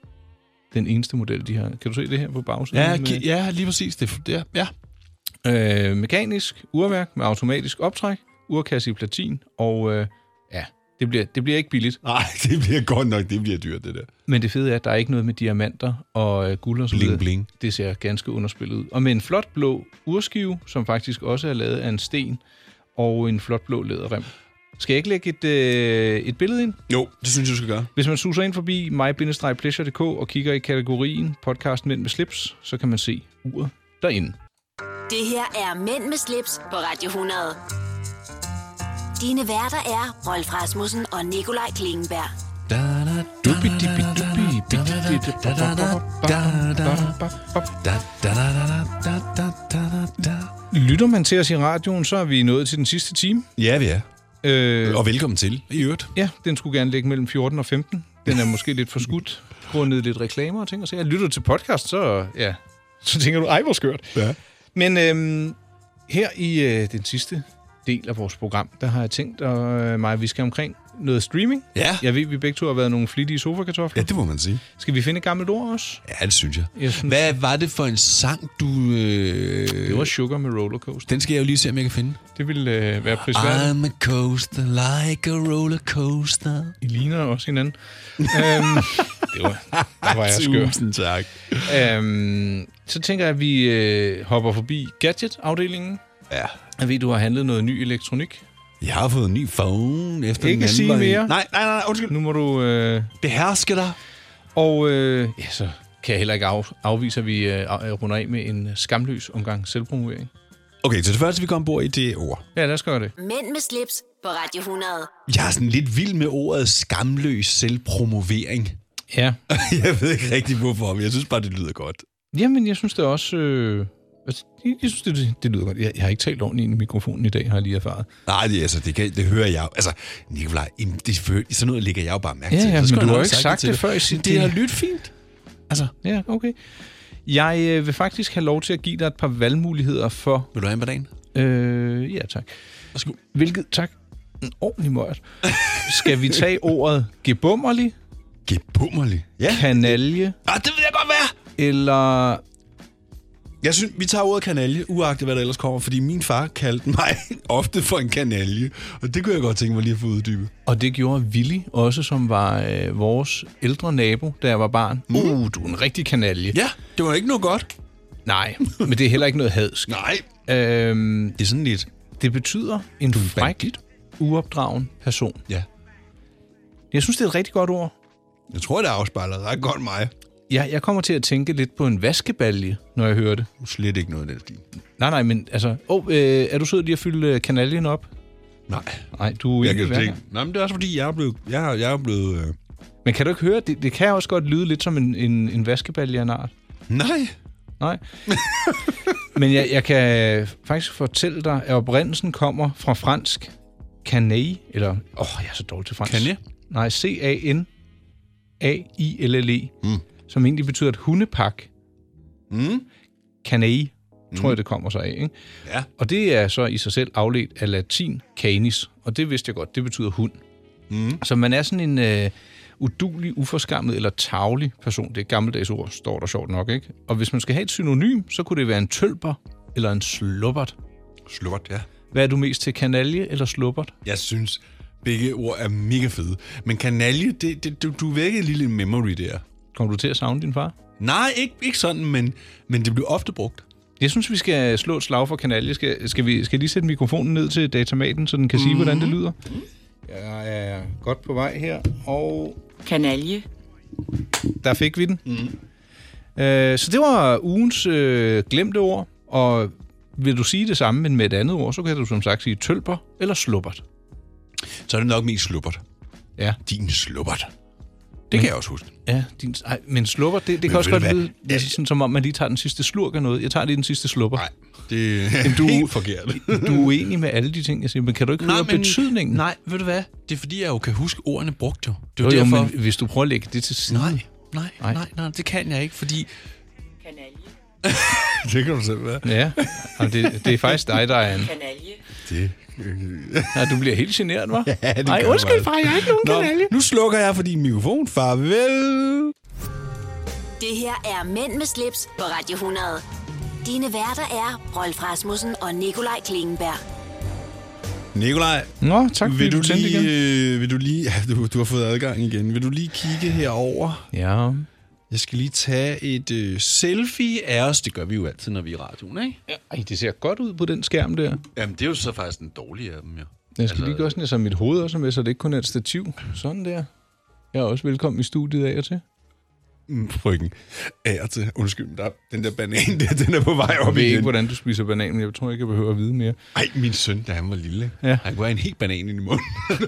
[SPEAKER 2] Den eneste model, de har. Kan du se det her på bagsiden?
[SPEAKER 3] Ja, ki- ja, lige præcis. Det, det er, ja.
[SPEAKER 2] Øh, mekanisk urværk med automatisk optræk, urkasse i platin, og øh, ja, det bliver, det bliver ikke billigt.
[SPEAKER 3] Nej, det bliver godt nok, det bliver dyrt, det der.
[SPEAKER 2] Men det fede er, at der er ikke noget med diamanter og øh, guld og så
[SPEAKER 3] Bling,
[SPEAKER 2] videre.
[SPEAKER 3] bling.
[SPEAKER 2] Det ser ganske underspillet ud. Og med en flot blå urskive, som faktisk også er lavet af en sten, og en flot blå læderrem. Skal jeg ikke lægge et, øh, et billede ind?
[SPEAKER 3] Jo, det synes jeg, du skal gøre.
[SPEAKER 2] Hvis man suser ind forbi my-pleasure.dk og kigger i kategorien podcasten Mænd med slips, så kan man se uret derinde.
[SPEAKER 1] Det her er Mænd med slips på Radio 100. Dine værter er Rolf Rasmussen og Nikolaj Klingenberg.
[SPEAKER 2] Lytter man til os i radioen, så er vi nået til den sidste time.
[SPEAKER 3] Ja, vi er.
[SPEAKER 2] Øh,
[SPEAKER 3] Og velkommen til, i øvrigt.
[SPEAKER 2] Ja, den skulle gerne ligge mellem 14 og 15. Den er måske lidt for skudt, grundet lidt reklamer og ting. Og så jeg lytter du til podcast, så, ja, så tænker du, ej, hvor skørt.
[SPEAKER 3] Ja.
[SPEAKER 2] Men øhm, her i øh, den sidste del af vores program, der har jeg tænkt øh, mig, at vi skal omkring noget streaming.
[SPEAKER 3] Ja.
[SPEAKER 2] Jeg ved, vi begge to har været nogle flittige sofakartofler.
[SPEAKER 3] Ja, det må man sige.
[SPEAKER 2] Skal vi finde et gammelt ord også?
[SPEAKER 3] Ja, det synes jeg.
[SPEAKER 2] Jeg synes-
[SPEAKER 3] Hvad var det for en sang, du... Øh...
[SPEAKER 2] Det var Sugar med Rollercoaster.
[SPEAKER 3] Den skal jeg jo lige se, om jeg kan finde.
[SPEAKER 2] Det ville øh, være prisværdigt.
[SPEAKER 3] I'm a coaster like a roller coaster.
[SPEAKER 2] I ligner også hinanden. øhm, det var, der var jeg skør.
[SPEAKER 3] Tusind tak.
[SPEAKER 2] Øhm, så tænker jeg, at vi øh, hopper forbi gadget-afdelingen.
[SPEAKER 3] Ja.
[SPEAKER 2] Jeg ved, du har handlet noget ny elektronik.
[SPEAKER 3] Jeg har fået en ny phone efter den
[SPEAKER 2] Ikke
[SPEAKER 3] anden.
[SPEAKER 2] sige
[SPEAKER 3] var en-
[SPEAKER 2] mere.
[SPEAKER 3] Nej, nej, nej, undskyld.
[SPEAKER 2] Nu må du... Øh,
[SPEAKER 3] Beherske dig.
[SPEAKER 2] og øh, ja, så kan jeg heller ikke af, afvise, at vi øh, af- runder af med en øh, skamløs omgang selvpromovering.
[SPEAKER 3] Okay, så det første, vi kom ombord i, det er ord.
[SPEAKER 2] Ja, lad os gøre det.
[SPEAKER 1] Mænd med slips på Radio 100.
[SPEAKER 3] Jeg er sådan lidt vild med ordet skamløs selvpromovering.
[SPEAKER 2] Ja.
[SPEAKER 3] jeg ved ikke rigtig, hvorfor, men jeg synes bare, det lyder godt.
[SPEAKER 2] Jamen, jeg synes det også... Øh, altså, jeg, jeg synes, det, det lyder godt. Jeg, jeg har ikke talt ordentligt ind i mikrofonen i dag, har jeg lige erfaret.
[SPEAKER 3] Nej, det, altså, det, kan, det hører jeg jo. Altså, Nikolaj, jamen, det, selvfølgelig- sådan noget ligger jeg jo bare mærke
[SPEAKER 2] Ja,
[SPEAKER 3] til.
[SPEAKER 2] ja,
[SPEAKER 3] Så
[SPEAKER 2] men
[SPEAKER 3] skulle
[SPEAKER 2] du
[SPEAKER 3] jeg
[SPEAKER 2] har jo
[SPEAKER 3] nok
[SPEAKER 2] ikke sagt
[SPEAKER 3] til
[SPEAKER 2] det
[SPEAKER 3] dig.
[SPEAKER 2] før i sit-
[SPEAKER 3] Men Det har lyttet fint. Altså,
[SPEAKER 2] Ja, okay. Jeg øh, vil faktisk have lov til at give dig et par valgmuligheder for...
[SPEAKER 3] vil du have en på dagen?
[SPEAKER 2] Øh, ja, tak.
[SPEAKER 3] Værsgo.
[SPEAKER 2] Hvilket, tak, en ordentlig møjt. Skal vi tage ordet gebummerlig,
[SPEAKER 3] Gebummerlig. Ja.
[SPEAKER 2] kanalje
[SPEAKER 3] Ah, det vil jeg godt være.
[SPEAKER 2] eller...
[SPEAKER 3] Jeg synes, vi tager ordet kanalje, uagtet hvad der ellers kommer, fordi min far kaldte mig ofte for en kanalje, og det kunne jeg godt tænke mig lige at få uddybet.
[SPEAKER 2] Og det gjorde Willy også, som var øh, vores ældre nabo, da jeg var barn. Mm. Uh, du er en rigtig kanalje.
[SPEAKER 3] Ja, det var ikke noget godt.
[SPEAKER 2] Nej, men det er heller ikke noget hadsk.
[SPEAKER 3] Nej.
[SPEAKER 2] Øhm,
[SPEAKER 3] Det er sådan lidt...
[SPEAKER 2] det betyder en fræk,
[SPEAKER 3] bandit.
[SPEAKER 2] uopdragen person.
[SPEAKER 3] Ja.
[SPEAKER 2] Jeg synes, det er et rigtig godt ord.
[SPEAKER 3] Jeg tror, det afspejler ret godt mig.
[SPEAKER 2] Jeg, jeg kommer til at tænke lidt på en vaskebalje, når jeg hører det.
[SPEAKER 3] Slet ikke noget af den stil.
[SPEAKER 2] Nej, nej, men altså... Åh, oh, øh, er du sød lige at fylde øh, kanaljen op?
[SPEAKER 3] Nej.
[SPEAKER 2] Nej, du er
[SPEAKER 3] Jeg
[SPEAKER 2] ikke
[SPEAKER 3] kan
[SPEAKER 2] hver
[SPEAKER 3] tænke,
[SPEAKER 2] gang.
[SPEAKER 3] nej, men det er også fordi, jeg er blevet... Jeg, er- jeg er blevet øh...
[SPEAKER 2] Men kan du ikke høre, det, det kan også godt lyde lidt som en, en, en vaskebalje af en art.
[SPEAKER 3] Nej.
[SPEAKER 2] Nej. Men jeg, jeg kan faktisk fortælle dig, at oprindelsen kommer fra fransk canai, eller... Åh, oh, jeg er så dårlig til fransk.
[SPEAKER 3] Canai?
[SPEAKER 2] Nej, C-A-N-A-I-L-L-E, mm. som egentlig betyder et hundepak.
[SPEAKER 3] Mm.
[SPEAKER 2] Canai, tror jeg, det kommer sig af, ikke?
[SPEAKER 3] Ja.
[SPEAKER 2] Og det er så i sig selv afledt af latin canis, og det vidste jeg godt, det betyder hund.
[SPEAKER 3] Mm.
[SPEAKER 2] Så man er sådan en øh, udulig, uforskammet eller tavlig person. Det er et gammeldags ord, står der sjovt nok, ikke? Og hvis man skal have et synonym, så kunne det være en tølper eller en slubbert.
[SPEAKER 3] Slort, ja.
[SPEAKER 2] Hvad er du mest til, kanalje eller slubbert?
[SPEAKER 3] Jeg synes, begge ord er mega fede. Men kanalje, det, det, du, du vækkede en lille memory der.
[SPEAKER 2] Kommer du til at savne din far?
[SPEAKER 3] Nej, ikke, ikke sådan, men, men det bliver ofte brugt.
[SPEAKER 2] Jeg synes, vi skal slå et slag for kanalje. Skal, skal, vi, skal jeg lige sætte mikrofonen ned til datamaten, så den kan sige, mm-hmm. hvordan det lyder? Jeg er godt på vej her, og...
[SPEAKER 13] Kanalje.
[SPEAKER 2] Der fik vi den. Mm. Øh, så det var ugens øh, glemte ord, og vil du sige det samme, men med et andet ord, så kan du som sagt sige tølper eller slubbert.
[SPEAKER 3] Så er det nok mest slubbert.
[SPEAKER 2] Ja.
[SPEAKER 3] Din slubbert. Det men, kan jeg også huske.
[SPEAKER 2] Ja, din, ej, men slupper, det, det men kan også godt lyde ja. sådan, som om man lige tager den sidste slurk af noget. Jeg tager lige den sidste slupper.
[SPEAKER 3] Nej, det er du, helt forkert.
[SPEAKER 2] du er uenig med alle de ting, jeg siger, men kan du ikke nej, høre men, betydningen?
[SPEAKER 3] Nej, ved du hvad? Det er fordi, jeg jo kan huske ordene brugt jo. Det
[SPEAKER 2] er jo, jo derfor... men hvis du prøver at lægge det til side...
[SPEAKER 3] Nej, nej, nej, nej, nej det kan jeg ikke, fordi...
[SPEAKER 13] Kanalje.
[SPEAKER 3] det kan du selv være.
[SPEAKER 2] Ja, og det, det er faktisk dig, der er en...
[SPEAKER 13] Kanalje.
[SPEAKER 3] Det
[SPEAKER 2] Ja, du bliver helt generet, hva'?
[SPEAKER 3] Ja, det
[SPEAKER 2] Ej,
[SPEAKER 3] gør
[SPEAKER 2] undskyld,
[SPEAKER 3] jeg.
[SPEAKER 2] far, jeg er ikke nogen
[SPEAKER 3] Nå,
[SPEAKER 2] kanalje.
[SPEAKER 3] nu slukker jeg for din mikrofon. Farvel.
[SPEAKER 1] Det her er Mænd med slips på Radio 100. Dine værter er Rolf Rasmussen og Nikolaj Klingenberg.
[SPEAKER 3] Nikolaj.
[SPEAKER 2] Nå, tak fordi
[SPEAKER 3] Vil du,
[SPEAKER 2] du tændte
[SPEAKER 3] lige,
[SPEAKER 2] igen.
[SPEAKER 3] øh, vil du lige... Ja, du, du har fået adgang igen. Vil du lige kigge herover?
[SPEAKER 2] Ja.
[SPEAKER 3] Jeg skal lige tage et øh, selfie af os. Det gør vi jo altid, når vi er i radioen, ikke?
[SPEAKER 2] Ja. Ej, det ser godt ud på den skærm der.
[SPEAKER 3] Jamen, det er jo så faktisk den dårlige af dem, ja.
[SPEAKER 2] Jeg skal altså, lige gøre sådan, så mit hoved også er med, så det ikke kun er et stativ. Sådan der. Jeg er også velkommen i studiet af og til.
[SPEAKER 3] Mm, Frygten. Af og til. Undskyld, men der, den der banan der, den er på vej
[SPEAKER 2] Jeg
[SPEAKER 3] op
[SPEAKER 2] ved
[SPEAKER 3] igen.
[SPEAKER 2] ikke, hvordan du spiser banan, men jeg tror ikke, jeg behøver at vide mere.
[SPEAKER 3] Ej, min søn, da han var lille,
[SPEAKER 2] Ja.
[SPEAKER 3] han kunne have en helt banan i munden.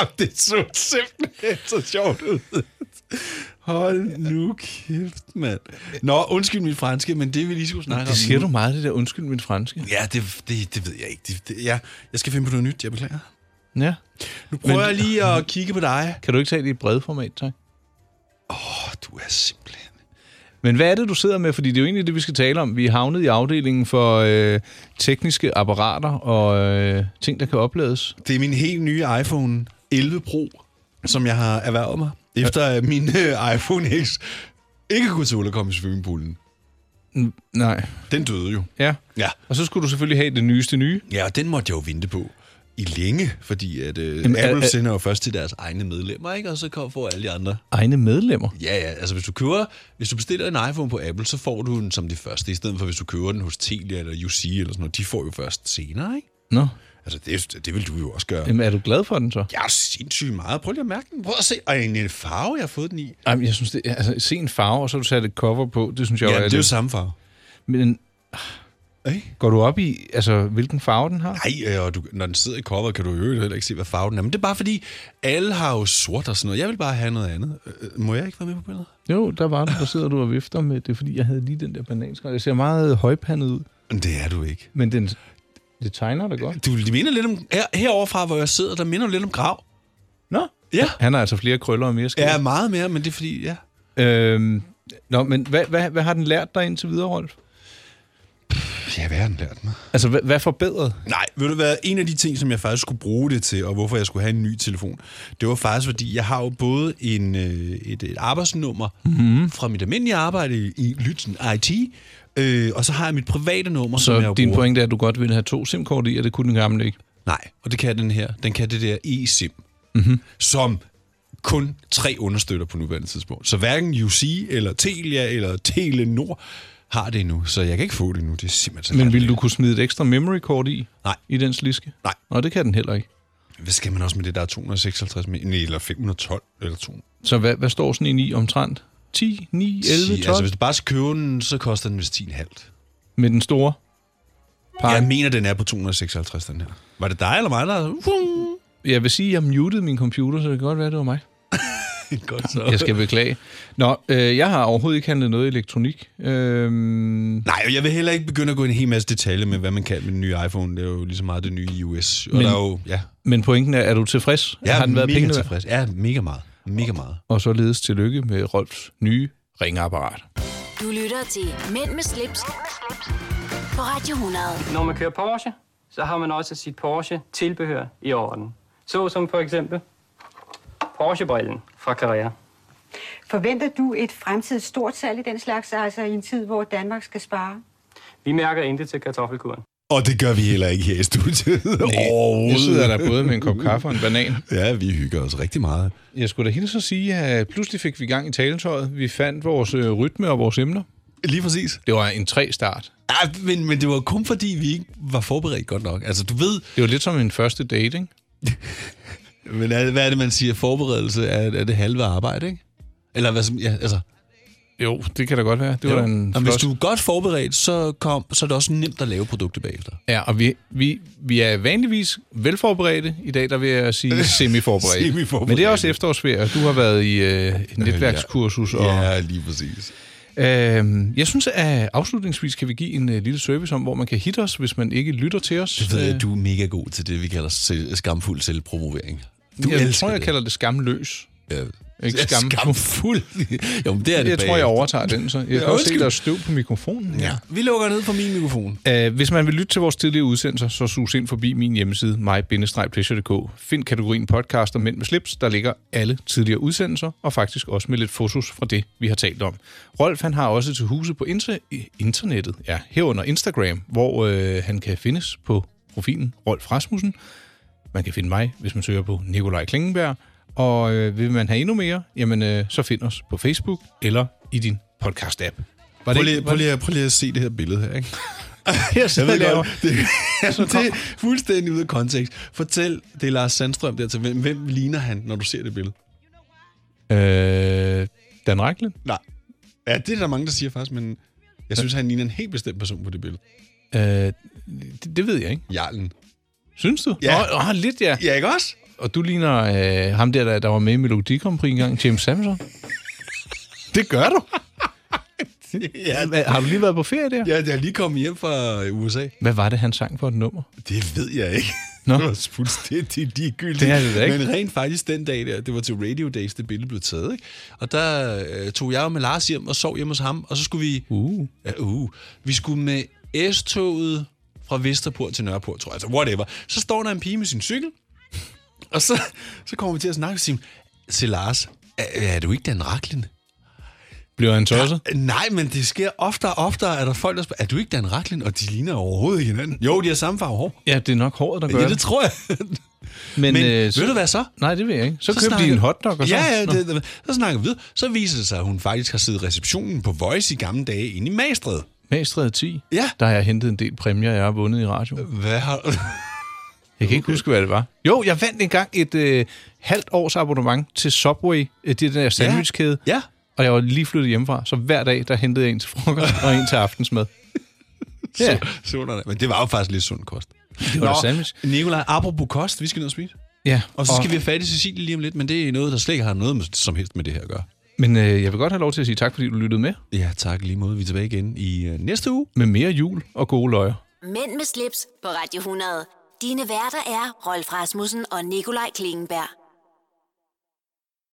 [SPEAKER 3] Jamen, det så simpelthen så sjovt ud. Hold nu kæft, mand. Nå, undskyld mit franske, men det vi lige skulle snakke om
[SPEAKER 2] Det siger
[SPEAKER 3] nu.
[SPEAKER 2] du meget, det der undskyld min franske.
[SPEAKER 3] Ja, det, det, det ved jeg ikke. Det, det, jeg, jeg skal finde på noget nyt, jeg beklager.
[SPEAKER 2] Ja.
[SPEAKER 3] Nu prøver
[SPEAKER 2] Men-
[SPEAKER 3] men, jeg lige at kigge på dig.
[SPEAKER 2] Kan du ikke tage det i et bredformat, tak?
[SPEAKER 3] Åh, du er simpelthen...
[SPEAKER 2] Men hvad er det, du sidder med? Fordi det er jo egentlig det, vi skal tale om. Vi er havnet i afdelingen for øh, tekniske apparater og øh, ting, der kan oplades.
[SPEAKER 3] Det er min helt nye iPhone 11 Pro, som jeg har erhvervet mig, efter at min øh, iPhone X ikke kunne tåle at komme i swimmingpoolen.
[SPEAKER 2] N- nej.
[SPEAKER 3] Den døde jo.
[SPEAKER 2] Ja.
[SPEAKER 3] Ja.
[SPEAKER 2] Og så skulle du selvfølgelig have det nyeste nye.
[SPEAKER 3] Ja, og den måtte jeg jo vente på i længe, fordi at øh,
[SPEAKER 2] Jamen,
[SPEAKER 3] Jamen,
[SPEAKER 2] er- er-
[SPEAKER 3] Apple sender jo først til deres egne medlemmer, ikke? og så kom- får alle de andre.
[SPEAKER 2] Egne medlemmer.
[SPEAKER 3] Ja, ja, altså hvis du køber, hvis du bestiller en iPhone på Apple, så får du den som det første, i stedet for hvis du køber den hos Telia eller UC eller sådan noget, de får jo først senere, ikke?
[SPEAKER 2] Nå.
[SPEAKER 3] Altså det, det vil du jo også gøre.
[SPEAKER 2] Jamen, er du glad for den så?
[SPEAKER 3] Jeg er sindssygt meget. Prøv lige at mærke den. Prøv at se. Og en, en farve, jeg har fået den i.
[SPEAKER 2] Jamen, jeg synes, det er, altså, se en farve, og så har du sat et cover på. Det synes jeg
[SPEAKER 3] Ja,
[SPEAKER 2] er
[SPEAKER 3] det er jo samme farve.
[SPEAKER 2] Men
[SPEAKER 3] Ej.
[SPEAKER 2] går du op i, altså, hvilken farve den har?
[SPEAKER 3] Nej, øh, og du, når den sidder i coveret, kan du jo heller ikke se, hvad farven er. Men det er bare fordi, alle har jo sort og sådan noget. Jeg vil bare have noget andet. Øh, Må jeg ikke være med på billedet?
[SPEAKER 2] Jo, der var den, der sidder du og vifter med det, fordi jeg havde lige den der bananskal. Det ser meget højpandet ud,
[SPEAKER 3] Men det er du ikke.
[SPEAKER 2] men den, det tegner da godt.
[SPEAKER 3] Du minder lidt om... Her, heroverfra, hvor jeg sidder, der minder du lidt om grav.
[SPEAKER 2] Nå,
[SPEAKER 3] Ja.
[SPEAKER 2] han har altså flere krøller og mere skæg.
[SPEAKER 3] Ja, meget mere, men det er fordi, ja.
[SPEAKER 2] Øhm, nå, men hvad, hvad, hvad har den lært dig indtil videre, Rolf?
[SPEAKER 3] Ja, hvad har den lært mig?
[SPEAKER 2] Altså, hvad, hvad forbedret?
[SPEAKER 3] Nej, ved du hvad, en af de ting, som jeg faktisk skulle bruge det til, og hvorfor jeg skulle have en ny telefon, det var faktisk, fordi jeg har jo både en, øh, et, et arbejdsnummer mm-hmm. fra mit almindelige arbejde i- i Lytten IT, øh, og så har jeg mit private nummer, som jeg
[SPEAKER 2] Så
[SPEAKER 3] jo
[SPEAKER 2] din
[SPEAKER 3] bruger.
[SPEAKER 2] pointe er, at du godt ville have to SIM-kort i, og det kunne den gamle ikke.
[SPEAKER 3] Nej, og det kan den her. Den kan det der eSIM, mm-hmm. som kun tre understøtter på nuværende tidspunkt. Så hverken UC eller Telia eller Telenor har det endnu, så jeg kan ikke få det endnu. Det er simpelthen så
[SPEAKER 2] Men
[SPEAKER 3] latterligt.
[SPEAKER 2] ville du kunne smide et ekstra memory card i?
[SPEAKER 3] Nej.
[SPEAKER 2] I den sliske?
[SPEAKER 3] Nej.
[SPEAKER 2] Nå, det kan den heller ikke.
[SPEAKER 3] Hvad skal man også med det, der er 256 me- nej, eller 512 eller 200?
[SPEAKER 2] Så hvad, hvad står sådan en i omtrent? 10, 9, 11, 12?
[SPEAKER 3] Altså, hvis du bare skal købe den, så koster den vist 10,5.
[SPEAKER 2] Med den store?
[SPEAKER 3] Jeg mener, den er på 256, den her. Var det dig eller mig, der... Fung!
[SPEAKER 2] Jeg vil sige, at jeg mutede min computer, så det kan godt være, at det var mig.
[SPEAKER 3] Godt så.
[SPEAKER 2] Jeg skal beklage. Nå, øh, jeg har overhovedet ikke handlet noget elektronik. Øhm,
[SPEAKER 3] Nej, og jeg vil heller ikke begynde at gå ind i en hel masse detaljer med, hvad man kan med den nye iPhone. Det er jo lige så meget det nye i US. Og
[SPEAKER 2] Men-
[SPEAKER 3] men, der er jo, ja,
[SPEAKER 2] men pointen er, er du tilfreds?
[SPEAKER 3] jeg
[SPEAKER 2] har den været
[SPEAKER 3] mega
[SPEAKER 2] pengene værd?
[SPEAKER 3] tilfreds. Ja, mega meget. Mega meget.
[SPEAKER 2] Og således tillykke med Rolfs nye ringeapparat.
[SPEAKER 1] Du lytter til Mænd med slips, på Radio 100.
[SPEAKER 4] Når man kører Porsche, så har man også sit Porsche-tilbehør i orden. Så som for eksempel Porsche-brillen fra Carrera.
[SPEAKER 19] Forventer du et fremtidigt stort salg i den slags, altså i en tid, hvor Danmark skal spare?
[SPEAKER 4] Vi mærker intet til kartoffelkuren.
[SPEAKER 3] Og det gør vi heller ikke her i studiet.
[SPEAKER 2] Jeg sidder der både med en kop kaffe og en banan.
[SPEAKER 3] Ja, vi hygger os rigtig meget.
[SPEAKER 2] Jeg skulle da hilse at sige, at pludselig fik vi gang i taletøjet. Vi fandt vores øh, rytme og vores emner.
[SPEAKER 3] Lige præcis.
[SPEAKER 2] Det var en tre start.
[SPEAKER 3] Ja, men, men det var kun fordi, vi ikke var forberedt godt nok. Altså, du ved...
[SPEAKER 2] Det var lidt som en første date, ikke?
[SPEAKER 3] men er, hvad er det, man siger? Forberedelse er, er det halve arbejde, ikke? Eller hvad som... Ja, altså...
[SPEAKER 2] Jo, det kan da godt være. Det var da en
[SPEAKER 3] Og hvis
[SPEAKER 2] flot-
[SPEAKER 3] du er godt forberedt, så, kom, så er det også nemt at lave produktet bagefter.
[SPEAKER 2] Ja, og vi, vi, vi er vanligvis velforberedte. I dag, der vil jeg sige semiforberedte.
[SPEAKER 3] Semiforberedte.
[SPEAKER 2] Men det er også efterårsferie, og du har været i øh, et netværkskursus. Og,
[SPEAKER 3] Ja, lige præcis.
[SPEAKER 2] Øhm, jeg synes, at afslutningsvis kan vi give en øh, lille service om, hvor man kan hitte os, hvis man ikke lytter til os.
[SPEAKER 3] Du ved,
[SPEAKER 2] Øh,
[SPEAKER 3] at du er mega god til det, vi kalder selv, skamfuld selvpromovering. Du
[SPEAKER 2] jeg
[SPEAKER 3] elsker
[SPEAKER 2] tror, jeg
[SPEAKER 3] det.
[SPEAKER 2] kalder det skamløs.
[SPEAKER 3] Ja.
[SPEAKER 2] Ikke
[SPEAKER 3] Ja,
[SPEAKER 2] skam.
[SPEAKER 3] skamfuld. jo, men det er det
[SPEAKER 2] Jeg tror, jeg
[SPEAKER 3] bagefter.
[SPEAKER 2] overtager den, så. Jeg kan også se,
[SPEAKER 3] undskyld.
[SPEAKER 2] der er støv på mikrofonen.
[SPEAKER 3] Ja. Vi lukker ned for min mikrofon.
[SPEAKER 2] Uh, hvis man vil lytte til vores tidligere udsendelser, så sus ind forbi min hjemmeside, my Find kategorien podcast og Mænd med slips, der ligger alle tidligere udsendelser, og faktisk også med lidt fotos fra det, vi har talt om. Rolf han har også til huse på inter- i- internettet, ja, herunder Instagram, hvor øh, han kan findes på profilen Rolf Rasmussen. Man kan finde mig, hvis man søger på Nikolaj Klingenberg. Og øh, vil man have endnu mere, jamen øh, så find os på Facebook eller i din podcast-app. Var det
[SPEAKER 3] Prøv
[SPEAKER 2] ikke-
[SPEAKER 3] lige,
[SPEAKER 2] var
[SPEAKER 3] prøv,
[SPEAKER 2] det-
[SPEAKER 3] lige, prøv lige at se det her billede her, ikke?
[SPEAKER 2] Jeg sidder og laver-
[SPEAKER 3] godt, det, altså, det er fuldstændig ude af kontekst. Fortæl, det er Lars Sandstrøm der til, hvem, hvem ligner han, når du ser det billede?
[SPEAKER 2] Øh, Dan Racklin?
[SPEAKER 3] Nej. Ja, det er der mange, der siger faktisk, men jeg synes, han ligner en helt bestemt person på det billede.
[SPEAKER 2] Øh, det, det ved jeg ikke.
[SPEAKER 3] Jarlen.
[SPEAKER 2] Synes du?
[SPEAKER 3] Ja.
[SPEAKER 2] Åh, oh, lidt ja.
[SPEAKER 3] Ja, ikke også?
[SPEAKER 2] Og du ligner øh, ham der, der, der var med i Melodi Grand Prix engang, James Samson. det gør du.
[SPEAKER 3] Ja,
[SPEAKER 2] Hvad, har du lige været på ferie der?
[SPEAKER 3] ja, jeg er lige kommet hjem fra øh, USA.
[SPEAKER 2] Hvad var det, han sang for et nummer?
[SPEAKER 3] Det ved jeg ikke.
[SPEAKER 2] Nå.
[SPEAKER 3] Det var fuldstændig ligegyldigt.
[SPEAKER 2] Det er det da ikke.
[SPEAKER 3] Men rent faktisk den dag der, det var til Radio Days, det billede blev taget. Ikke? Og der øh, tog jeg jo med Lars hjem og sov hjemme hos ham, og så skulle vi...
[SPEAKER 2] Uh.
[SPEAKER 3] Ja, uh. Vi skulle med S-toget fra Vesterport til Nørreport, tror jeg. Altså, whatever. Så står der en pige med sin cykel, og så, så kommer vi til at snakke og siger, se Lars, er, er du ikke Dan Raklin?
[SPEAKER 2] Bliver han tosset?
[SPEAKER 3] Ja, nej, men det sker oftere og oftere, at der er folk, der spørger, er du ikke Dan Raklin? Og de ligner overhovedet ikke hinanden. Jo, de har samme farve hår.
[SPEAKER 2] Ja, det er nok håret, der gør
[SPEAKER 3] Ja, det tror jeg.
[SPEAKER 2] Men,
[SPEAKER 3] Men
[SPEAKER 2] øh,
[SPEAKER 3] ved du hvad så?
[SPEAKER 2] Nej, det ved jeg ikke. Så, købte de en hotdog og så?
[SPEAKER 3] Ja, ja
[SPEAKER 2] Nå.
[SPEAKER 3] det, det, så snakker vi videre. Så viser det sig, at hun faktisk har siddet i receptionen på Voice i gamle dage inde i Magstred.
[SPEAKER 2] Magstræde 10,
[SPEAKER 3] Ja.
[SPEAKER 2] der har jeg hentet en del præmier, jeg har vundet i radio. Jeg
[SPEAKER 3] Hvad har
[SPEAKER 2] kan ikke huske, hvad det var. Jo, jeg vandt engang et øh, halvt års abonnement til Subway, øh, det er den der sandwichkæde.
[SPEAKER 3] Ja.
[SPEAKER 2] Og jeg var lige flyttet hjemmefra, så hver dag, der hentede jeg en til frokost og en til aftensmad.
[SPEAKER 3] Ja.
[SPEAKER 2] Ja.
[SPEAKER 3] Så, så, men det var jo faktisk lidt sund kost.
[SPEAKER 2] Det var da sandwich.
[SPEAKER 3] Nikolaj, apropos kost, vi skal ned og spise.
[SPEAKER 2] Ja,
[SPEAKER 3] Og så skal vi have fat i Cecilie lige om lidt, men det er noget, der slet ikke har noget med, som helst med det her at gøre.
[SPEAKER 2] Men øh, jeg vil godt have lov til at sige tak, fordi du lyttede med.
[SPEAKER 3] Ja, tak lige måde. Vi er tilbage igen i øh, næste uge.
[SPEAKER 2] Med mere jul og gode løjer.
[SPEAKER 1] Mænd med slips på Radio 100. Dine værter er Rolf Rasmussen og Nikolaj Klingenberg.